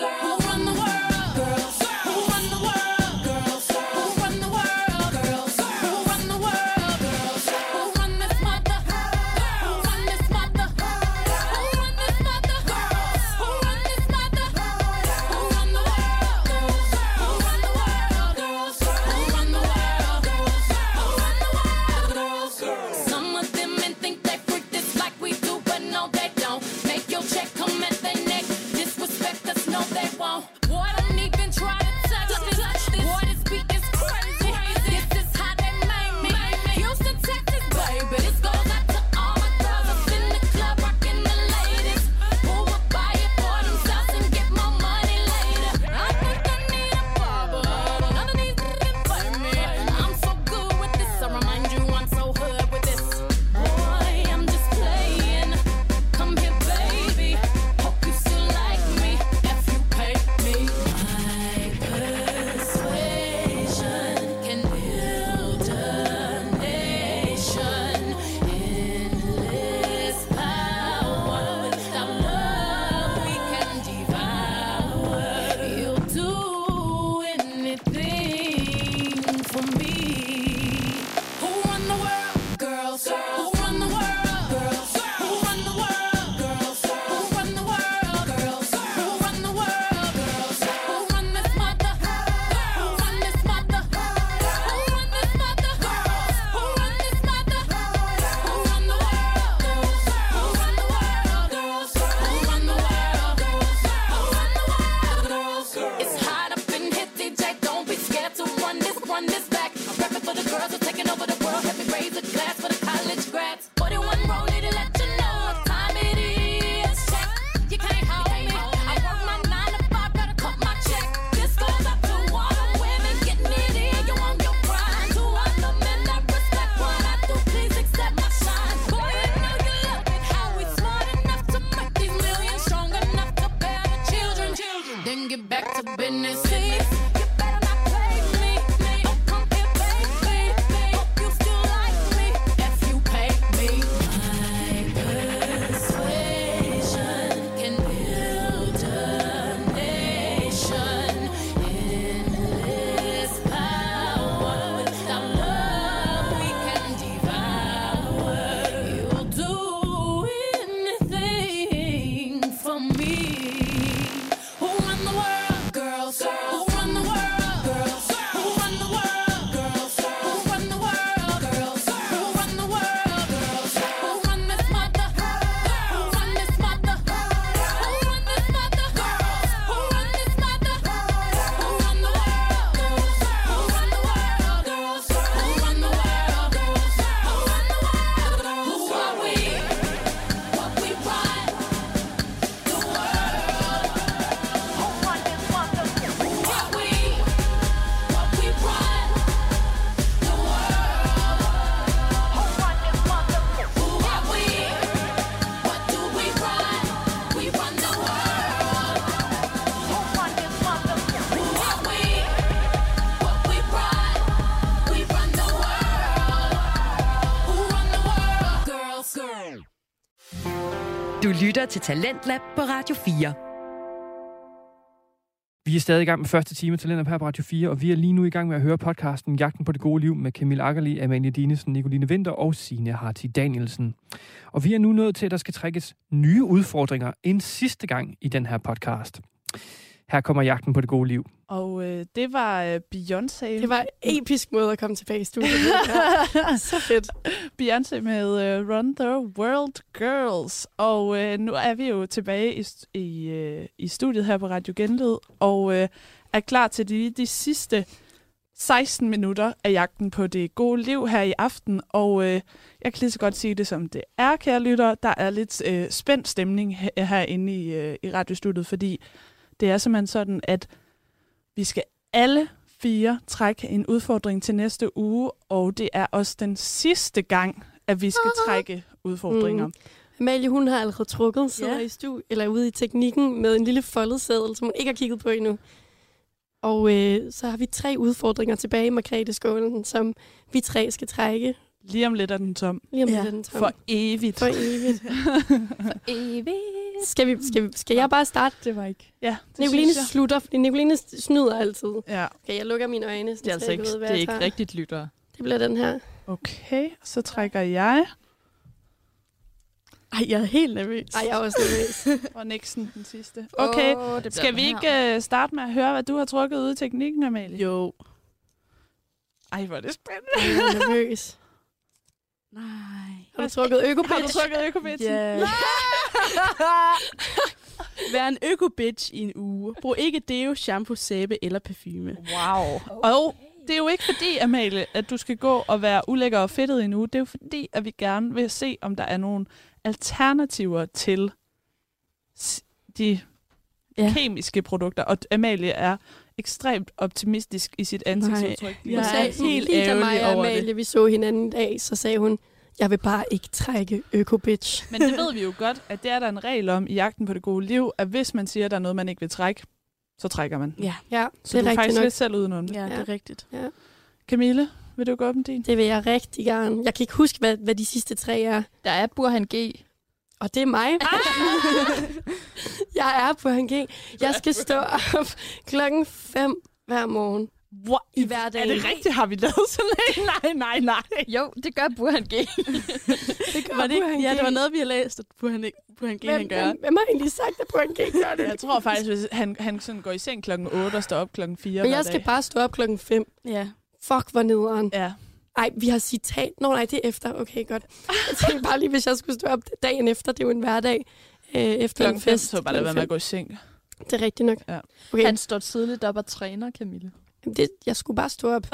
[SPEAKER 15] Girls, who run the world? Girls, who run the world? Girls, who run the world? Girls, who run the world? Girls, who run this mother? Who run this mother? Who run this
[SPEAKER 2] Du lytter til Talentlab på Radio 4.
[SPEAKER 4] Vi er stadig i gang med første time til Lennart her på Radio 4, og vi er lige nu i gang med at høre podcasten Jagten på det gode liv med Camille Akkerli, Amalie Dinesen, Nicoline Vinter og Signe Harti Danielsen. Og vi er nu nået til, at der skal trækkes nye udfordringer end sidste gang i den her podcast. Her kommer Jagten på det gode liv.
[SPEAKER 8] Og øh, det var øh, Beyoncé.
[SPEAKER 10] Det var en episk måde at komme tilbage i studiet.
[SPEAKER 8] Så fedt. Beyoncé med øh, Run the World Girls. Og øh, nu er vi jo tilbage i, st- i, øh, i studiet her på Radio Genlyd, og øh, er klar til de, de sidste 16 minutter af jagten på det gode liv her i aften. Og øh, jeg kan lige så godt sige det, som det er, kære lytter. Der er lidt øh, spændt stemning her, herinde i, øh, i radiostudiet, fordi det er simpelthen sådan, at vi skal alle fire trække en udfordring til næste uge, og det er også den sidste gang, at vi skal trække udfordringer. Mm.
[SPEAKER 10] Amalie, hun har allerede trukket, sidder
[SPEAKER 8] Ja.
[SPEAKER 10] i stu, eller ude i teknikken med en lille foldet seddel, som hun ikke har kigget på endnu. Og øh, så har vi tre udfordringer tilbage i Margrethe-skålen, som vi tre skal trække.
[SPEAKER 8] Lige om lidt er den tom.
[SPEAKER 10] Lige om ja. lidt er den tom.
[SPEAKER 8] For evigt.
[SPEAKER 10] For evigt.
[SPEAKER 9] Evigt.
[SPEAKER 10] Skal, vi, skal, vi- skal jeg bare starte? Det var ikke.
[SPEAKER 8] Ja, det
[SPEAKER 10] Nicoline
[SPEAKER 8] synes jeg.
[SPEAKER 10] slutter, fordi Nicoline snyder altid.
[SPEAKER 8] Ja.
[SPEAKER 10] Okay, jeg lukker mine øjne.
[SPEAKER 9] Det er altså ikke, det er ikke rigtigt lyttere.
[SPEAKER 10] Det bliver den her.
[SPEAKER 8] Okay, så trækker jeg.
[SPEAKER 9] Ej, jeg er helt nervøs.
[SPEAKER 10] Ej, jeg er også nervøs.
[SPEAKER 8] Og Nixon den sidste.
[SPEAKER 9] Åh,
[SPEAKER 8] Okay,
[SPEAKER 9] det
[SPEAKER 8] oh,
[SPEAKER 9] bliver
[SPEAKER 8] skal
[SPEAKER 9] den
[SPEAKER 8] vi
[SPEAKER 9] her.
[SPEAKER 6] øh,
[SPEAKER 8] ikke uh, starte med at høre, hvad du har trukket ud i teknikken, Amalie?
[SPEAKER 9] Jo.
[SPEAKER 8] Ej, hvor er det spændende.
[SPEAKER 10] Jeg er nervøs.
[SPEAKER 9] Nej.
[SPEAKER 10] Har du trukket økopitch?
[SPEAKER 8] Har du trykket økobitsen?
[SPEAKER 9] Ja. Vær en øko-bitch i en uge. Brug ikke deo, shampoo, sæbe eller parfume.
[SPEAKER 8] Wow. Og det er jo ikke fordi, Amalie, at du skal gå og være ulækker og fedtet endnu. Det er jo fordi, at vi gerne vil se, om der er nogle alternativer til s- de
[SPEAKER 9] Ja.
[SPEAKER 8] ja. kemiske produkter. Og Amalie er ekstremt optimistisk i sit ansigtsudtryk. lige
[SPEAKER 9] jeg
[SPEAKER 8] nu.
[SPEAKER 9] er helt
[SPEAKER 10] lige da mig
[SPEAKER 9] ærgerlig
[SPEAKER 10] og
[SPEAKER 9] over
[SPEAKER 10] Amalie,
[SPEAKER 9] det.
[SPEAKER 10] vi så hinanden i dag, så sagde hun, jeg vil bare ikke trække øko-bitch.
[SPEAKER 8] Men det ved vi jo godt, at det er der en regel om i jagten på det gode liv, at hvis man siger, at der er noget, man ikke vil trække, så trækker man.
[SPEAKER 9] Ja,
[SPEAKER 10] Ja,
[SPEAKER 8] Så
[SPEAKER 10] det
[SPEAKER 8] du
[SPEAKER 10] er
[SPEAKER 8] er faktisk
[SPEAKER 10] rigtigt nok.
[SPEAKER 8] lidt selv udenom det.
[SPEAKER 9] ja, det
[SPEAKER 10] Ja.
[SPEAKER 9] er rigtigt.
[SPEAKER 8] Camille, vil du gå op med din?
[SPEAKER 10] Det vil jeg rigtig gerne. Jeg kan ikke huske, hvad, hvad de sidste tre er.
[SPEAKER 6] Der er Burhan G.
[SPEAKER 10] Og det er mig. jeg er på en G. Jeg skal stå op klokken 5 hver morgen
[SPEAKER 8] What?
[SPEAKER 10] i hverdagen.
[SPEAKER 8] Er det rigtigt? Har vi lavet sådan en? Nej, nej, nej.
[SPEAKER 6] Jo, det gør Burhan G.
[SPEAKER 10] Det gør
[SPEAKER 9] Var det
[SPEAKER 10] Burhan
[SPEAKER 9] ikke? Ja,
[SPEAKER 10] G.
[SPEAKER 9] det var noget, vi har læst, at Burhan, ikke, Burhan G, han
[SPEAKER 10] Hvem,
[SPEAKER 9] gør.
[SPEAKER 10] hvem, hvem har egentlig sagt, at på en G gør det?
[SPEAKER 8] Jeg tror faktisk, hvis han, han sådan går i seng klokken 8 og står op klokken 4
[SPEAKER 10] Men jeg skal bare stå op klokken 5.
[SPEAKER 9] Ja.
[SPEAKER 10] Fuck, hvor nederen.
[SPEAKER 8] Ja.
[SPEAKER 10] Ej, vi har citat. Nå nej, det er efter. Okay, godt. Jeg tænkte bare lige, hvis jeg skulle stå op dagen efter. Det er jo en hverdag. Øh, efter
[SPEAKER 8] Klokken
[SPEAKER 10] en
[SPEAKER 8] 5,
[SPEAKER 10] fest.
[SPEAKER 8] så bare lade være med at gå i seng.
[SPEAKER 10] Det er rigtigt nok.
[SPEAKER 8] Ja.
[SPEAKER 10] Okay,
[SPEAKER 6] Han står tidligt op og træner, Camille.
[SPEAKER 10] Jamen, det, jeg skulle bare stå op.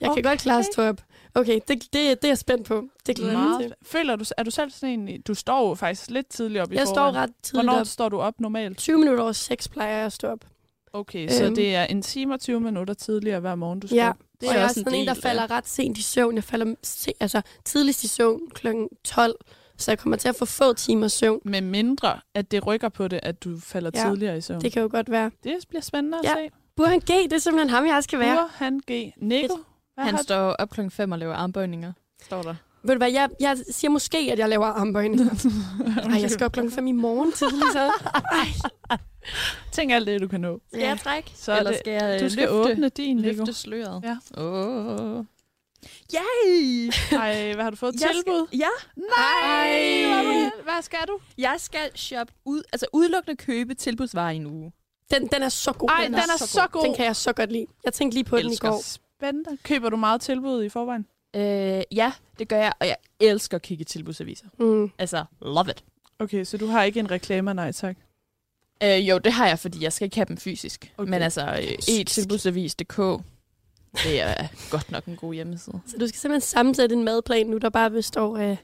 [SPEAKER 10] jeg kan godt klare at stå op. Okay, det, det, det er jeg spændt på. Det glæder jeg mig til.
[SPEAKER 8] Meget. Føler du, er du selv sådan en... Du står jo faktisk lidt tidligt op i
[SPEAKER 10] Jeg står
[SPEAKER 8] forvejen.
[SPEAKER 10] ret tidligt
[SPEAKER 8] Hvornår
[SPEAKER 10] op.
[SPEAKER 8] står du op normalt?
[SPEAKER 10] 20 minutter over 6 plejer jeg at stå op.
[SPEAKER 8] Okay, så
[SPEAKER 10] Øhm.
[SPEAKER 8] det er en time og 20 minutter tidligere hver morgen, du står
[SPEAKER 10] Ja,
[SPEAKER 8] op.
[SPEAKER 10] det
[SPEAKER 9] er
[SPEAKER 10] er og jeg er
[SPEAKER 9] også en
[SPEAKER 10] sådan en, der
[SPEAKER 9] del,
[SPEAKER 10] falder ret sent i søvn. Jeg falder se, altså, tidligst i søvn kl. 12, så jeg kommer til at få få timer søvn.
[SPEAKER 8] Med mindre, at det rykker på det, at du falder
[SPEAKER 10] Ja,
[SPEAKER 8] ja. tidligere i søvn.
[SPEAKER 10] Det
[SPEAKER 8] Det,
[SPEAKER 10] kan jo godt være.
[SPEAKER 8] det bliver spændende at
[SPEAKER 10] Ja.
[SPEAKER 8] se.
[SPEAKER 10] Burhan G, det er simpelthen ham, jeg skal være.
[SPEAKER 8] Burhan G. Nico, hvad
[SPEAKER 6] Han
[SPEAKER 8] har du?
[SPEAKER 6] står op klokken 5 og laver armbøjninger. Står der.
[SPEAKER 10] Ved du hvad, jeg, jeg siger måske, at jeg laver armbøjninger. Nej, jeg skal op klokken 5 i morgen tidlig, så.
[SPEAKER 8] Øh, Tænk alt det, du kan nå.
[SPEAKER 10] Skal jeg trække?
[SPEAKER 8] Så er
[SPEAKER 6] Eller
[SPEAKER 8] det,
[SPEAKER 6] skal jeg øh,
[SPEAKER 8] du skal
[SPEAKER 6] løfte,
[SPEAKER 8] åbne din, Nico.
[SPEAKER 6] løfte sløret?
[SPEAKER 8] Ja.
[SPEAKER 6] Oh. Yay!
[SPEAKER 8] Ej, hvad har du fået?
[SPEAKER 6] Jeg skal-
[SPEAKER 8] Tilbud?
[SPEAKER 6] Ja.
[SPEAKER 8] Ej, hvor er du
[SPEAKER 6] Nej!
[SPEAKER 8] hel- Hvad skal du?
[SPEAKER 6] Jeg skal shoppe ud, altså udelukkende købe tilbudsvarer i en uge.
[SPEAKER 10] Den, den er så god.
[SPEAKER 8] Ej, den er så god.
[SPEAKER 10] Den kan jeg så godt lide. Jeg tænkte lige på den i
[SPEAKER 6] Elsker.
[SPEAKER 10] går.
[SPEAKER 8] Spændende. Køber du meget tilbud i forvejen?
[SPEAKER 6] Øh, ja, det gør jeg, og jeg elsker at kigge i tilbudsaviser.
[SPEAKER 10] Mm.
[SPEAKER 6] Altså, love it.
[SPEAKER 8] Okay, så du har ikke en reklamer, nej tak.
[SPEAKER 6] Øh, jo, det har jeg, fordi jeg skal ikke have dem fysisk.
[SPEAKER 8] Okay.
[SPEAKER 6] Okay. Men altså, øh, e-tilbudsavis.dk, det er godt nok en god hjemmeside.
[SPEAKER 10] Så du skal simpelthen sammensætte en madplan nu, der bare består af...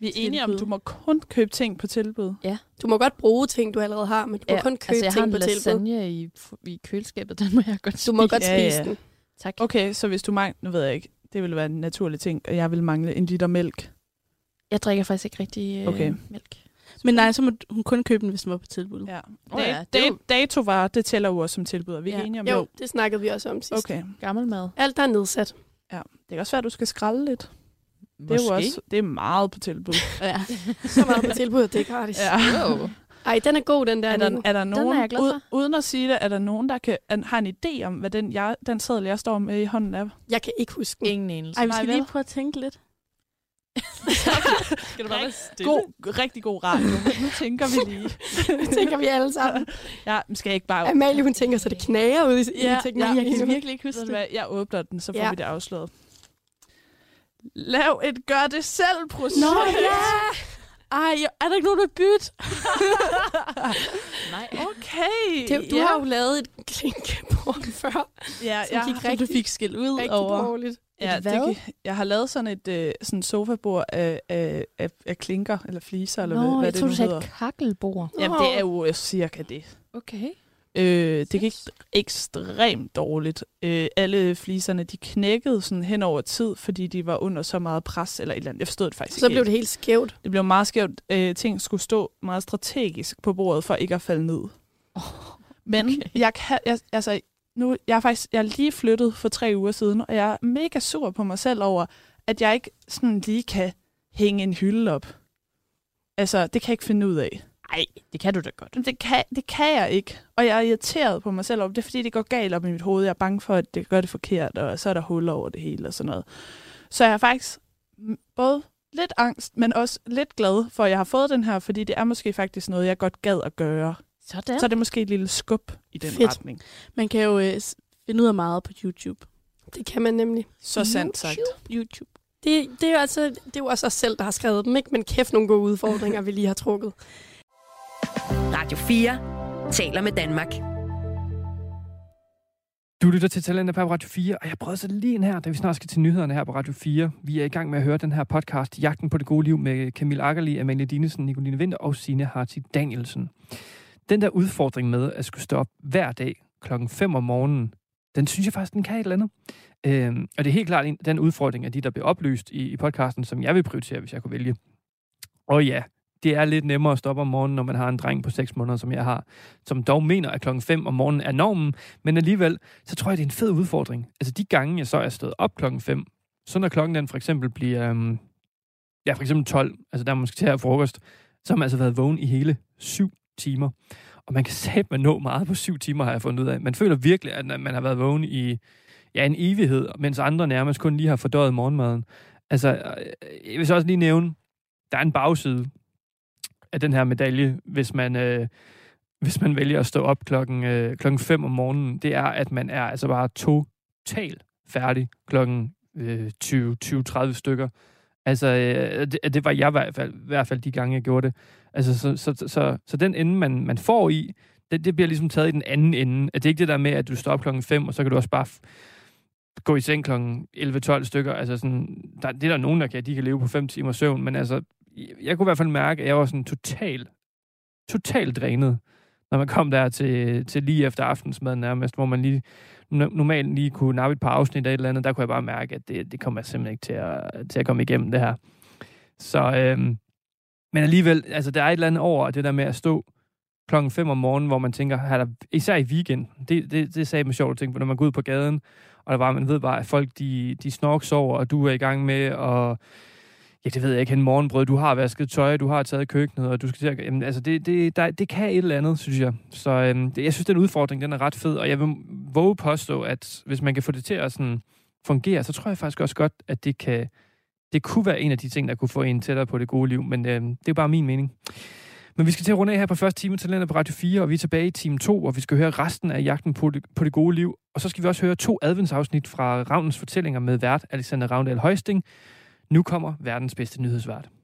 [SPEAKER 8] Vi er enige om,
[SPEAKER 10] Tilbud.
[SPEAKER 8] du må kun købe ting på tilbud.
[SPEAKER 10] Du må godt bruge ting, du allerede har, men du må kun købe
[SPEAKER 6] altså, jeg har
[SPEAKER 10] ting
[SPEAKER 6] en
[SPEAKER 10] på tilbud.
[SPEAKER 6] lasagne i, i køleskabet, den må jeg godt
[SPEAKER 10] Du
[SPEAKER 6] spise.
[SPEAKER 10] må godt
[SPEAKER 8] Ja,
[SPEAKER 10] spise
[SPEAKER 8] ja.
[SPEAKER 10] den.
[SPEAKER 6] Tak.
[SPEAKER 8] Okay, så hvis du mangler, nu ved jeg ikke, det ville være en naturlig ting, og jeg vil mangle en liter mælk.
[SPEAKER 6] Jeg drikker faktisk ikke rigtig øh,
[SPEAKER 8] Okay.
[SPEAKER 6] okay. mælk.
[SPEAKER 9] Men nej, så må hun kun købe den, hvis den var på tilbud.
[SPEAKER 8] Ja.
[SPEAKER 6] Åh ja,
[SPEAKER 8] Da-
[SPEAKER 6] det er
[SPEAKER 8] da-
[SPEAKER 6] jo-
[SPEAKER 8] Datovarer, det tæller jo også som tilbud. Er vi ja.
[SPEAKER 9] Ja.
[SPEAKER 8] enige om
[SPEAKER 10] Jo,
[SPEAKER 8] det?
[SPEAKER 10] det snakkede vi også om sidst.
[SPEAKER 8] Okay.
[SPEAKER 6] Gammel mad.
[SPEAKER 10] Alt, der er nedsat.
[SPEAKER 8] Det kan også være, at du skal skralde lidt. Det er jo også det er meget på tilbud.
[SPEAKER 10] ja. Så meget på tilbud, at det er gratis.
[SPEAKER 6] Ah,
[SPEAKER 8] Ja.
[SPEAKER 10] Wow. Ej, den er god, den der.
[SPEAKER 8] Er der,
[SPEAKER 10] Nico.
[SPEAKER 8] er der nogen,
[SPEAKER 10] den er jeg glad for.
[SPEAKER 8] ud, uden at sige det, er der nogen, der kan, an, har en idé om, hvad den, jeg, den seddel, jeg står med i hånden er?
[SPEAKER 10] Jeg kan ikke huske den.
[SPEAKER 6] Ingen anelse.
[SPEAKER 9] Ej, vi skal
[SPEAKER 10] Nej,
[SPEAKER 9] lige
[SPEAKER 10] vel?
[SPEAKER 9] prøve at tænke lidt.
[SPEAKER 6] Skal du bare være stille?
[SPEAKER 8] God, rigtig god radio. men Nu tænker vi lige.
[SPEAKER 10] Det tænker vi alle sammen.
[SPEAKER 8] Ja, men skal jeg ikke bare...
[SPEAKER 10] Amalie, hun tænker, så det knager ud i,
[SPEAKER 8] Ja,
[SPEAKER 10] i teknologien.
[SPEAKER 8] ja, jeg kan
[SPEAKER 10] nu.
[SPEAKER 8] virkelig ikke huske det. Hvad, jeg åbner den, så får
[SPEAKER 10] Ja.
[SPEAKER 8] ja. vi det afsløret. Lav et gør-det-selv-projekt.
[SPEAKER 9] Nå, ja! Ej, er der ikke nogen, der bytte?
[SPEAKER 6] Nej.
[SPEAKER 8] Okay.
[SPEAKER 10] Det, du
[SPEAKER 8] ja.
[SPEAKER 10] ja. har jo lavet et klinkebord før,
[SPEAKER 8] ja,
[SPEAKER 10] som
[SPEAKER 8] jeg
[SPEAKER 10] gik
[SPEAKER 8] har-
[SPEAKER 10] rigtig,
[SPEAKER 9] Du fik skæld ud
[SPEAKER 10] rigtig
[SPEAKER 9] over...
[SPEAKER 10] dårligt.
[SPEAKER 8] Ja, det,
[SPEAKER 9] hvad?
[SPEAKER 8] gi- jeg har lavet sådan et øh, sådan sofabord af, af, af, af klinker, eller fliser, eller hvad,
[SPEAKER 6] Nå,
[SPEAKER 8] hvad
[SPEAKER 6] jeg
[SPEAKER 8] det
[SPEAKER 6] troede,
[SPEAKER 8] nu
[SPEAKER 6] du sagde
[SPEAKER 8] hedder.
[SPEAKER 6] et kakkelbord.
[SPEAKER 8] Jamen, det er jo øh, cirka det.
[SPEAKER 6] Okay.
[SPEAKER 8] Øh, det gik ekstremt dårligt. Øh, alle fliserne, de knækkede sådan hen over tid, fordi de var under så meget pres, eller et eller andet. Jeg forstod det faktisk
[SPEAKER 10] Så
[SPEAKER 8] ikke.
[SPEAKER 10] blev det helt skævt.
[SPEAKER 8] Det blev meget skævt. Øh, ting skulle stå meget strategisk på bordet, for ikke at falde ned. Men okay. jeg kan, jeg, altså, nu, jeg er faktisk, jeg er lige flyttet for tre uger siden, og jeg er mega sur på mig selv over, at jeg ikke sådan lige kan hænge en hylde op. Altså, det kan jeg ikke finde ud af.
[SPEAKER 6] Nej, det kan du da godt.
[SPEAKER 8] Men Det kan, det kan jeg ikke, og jeg er irriteret på mig selv over det, det, er, fordi det går galt op i mit hoved. Jeg er bange for, at det gør det forkert, og så er der huller over det hele og sådan noget. Så jeg er faktisk mm, både lidt angst, men også lidt glad for, at jeg har fået den her, fordi det er måske faktisk noget, jeg godt gad at gøre.
[SPEAKER 6] Sådan.
[SPEAKER 8] Så er det måske et lille skub i den
[SPEAKER 10] Fedt.
[SPEAKER 8] retning.
[SPEAKER 9] Man kan jo øh, s- finde ud af meget på YouTube.
[SPEAKER 10] Det kan man nemlig.
[SPEAKER 8] Så sandt sagt.
[SPEAKER 9] YouTube.
[SPEAKER 10] Det, det, er jo altså, det er jo også os selv, der har skrevet dem, ikke? Men kæft nogle gode udfordringer, vi lige har trukket.
[SPEAKER 2] Radio 4 taler med Danmark.
[SPEAKER 4] Du lytter til Talentet på Radio 4, og jeg prøvede så lige en her, da vi snart skal til nyhederne her på Radio 4. Vi er i gang med at høre den her podcast, Jagten på det gode liv, med Camille Akkerli, Amalie Dinesen, Nicoline Vinter og Signe Harti Danielsen. Den der udfordring med at skulle stå op hver dag klokken 5 om morgenen, den synes jeg faktisk, den kan et eller andet. Øhm, og det er helt klart en- den udfordring af de, der bliver opløst i, i podcasten, som jeg vil prioritere, hvis jeg kunne vælge. Og ja, det er lidt nemmere at stoppe om morgenen, når man har en dreng på 6 måneder, som jeg har, som dog mener, at klokken 5 om morgenen er normen, men alligevel, så tror jeg, det er en fed udfordring. Altså de gange, jeg så er stået op klokken 5, så når klokken den for eksempel bliver, øhm, ja for eksempel 12, altså der man skal til at have frokost, så har man altså været vågen i hele 7 timer. Og man kan satme nå meget på 7 timer, har jeg fundet ud af. Man føler virkelig, at man har været vågen i ja, en evighed, mens andre nærmest kun lige har fordøjet morgenmaden. Altså, øh, jeg vil så også lige nævne, der er en bagside af den her medalje, hvis man... Øh, hvis man vælger at stå op klokken, øh, klokken 5 om morgenen, det er, at man er altså bare totalt færdig klokken øh, 20-30 stykker. Altså, øh, det, det var jeg i hvert fald, i hvert fald de gange, jeg gjorde det. Altså, så, så, så, så, så den ende, man, man får i, det, det bliver ligesom taget i den anden ende. At det er ikke det der med, at du står op klokken 5, og så kan du også bare f- gå i seng klokken 11-12 stykker. Altså, sådan, der, det er der nogen, der kan, de kan leve på 5 timer søvn, men altså, jeg, jeg kunne i hvert fald mærke, at jeg var sådan totalt, totalt drænet når man kom der til, til lige efter aftensmaden nærmest, hvor man lige no- normalt lige kunne nappe et par afsnit af et eller andet, der kunne jeg bare mærke, at det, det kommer jeg simpelthen ikke til at, til at komme igennem det her. Så, øhm, men alligevel, altså der er et eller andet over det der med at stå klokken 5 om morgenen, hvor man tænker, her er der, især i weekend, det, det, det sagde mig sjovt at tænke på, når man går ud på gaden, og der var, man ved bare, at folk de, de snork sover, og du er i gang med at ja, det ved jeg ikke, en morgenbrød, du har vasket tøj, du har taget i køkkenet, og du skal til at... Jamen, altså, det, det, der, det kan et eller andet, synes jeg. Så øhm, det, jeg synes, den udfordring, den er ret fed, og jeg vil våge påstå, at hvis man kan få det til at sådan, fungere, så tror jeg faktisk også godt, at det kan... Det kunne være en af de ting, der kunne få en tættere på det gode liv, men øhm, det er bare min mening. Men vi skal til at runde af her på første time til landet på Radio 4, og vi er tilbage i time 2, og vi skal høre resten af jagten på det, på det gode liv. Og så skal vi også høre to adventsafsnit fra Ravnens fortællinger med vært Alexander Ravndal Højsting, nu kommer verdens bedste nyhedsvært.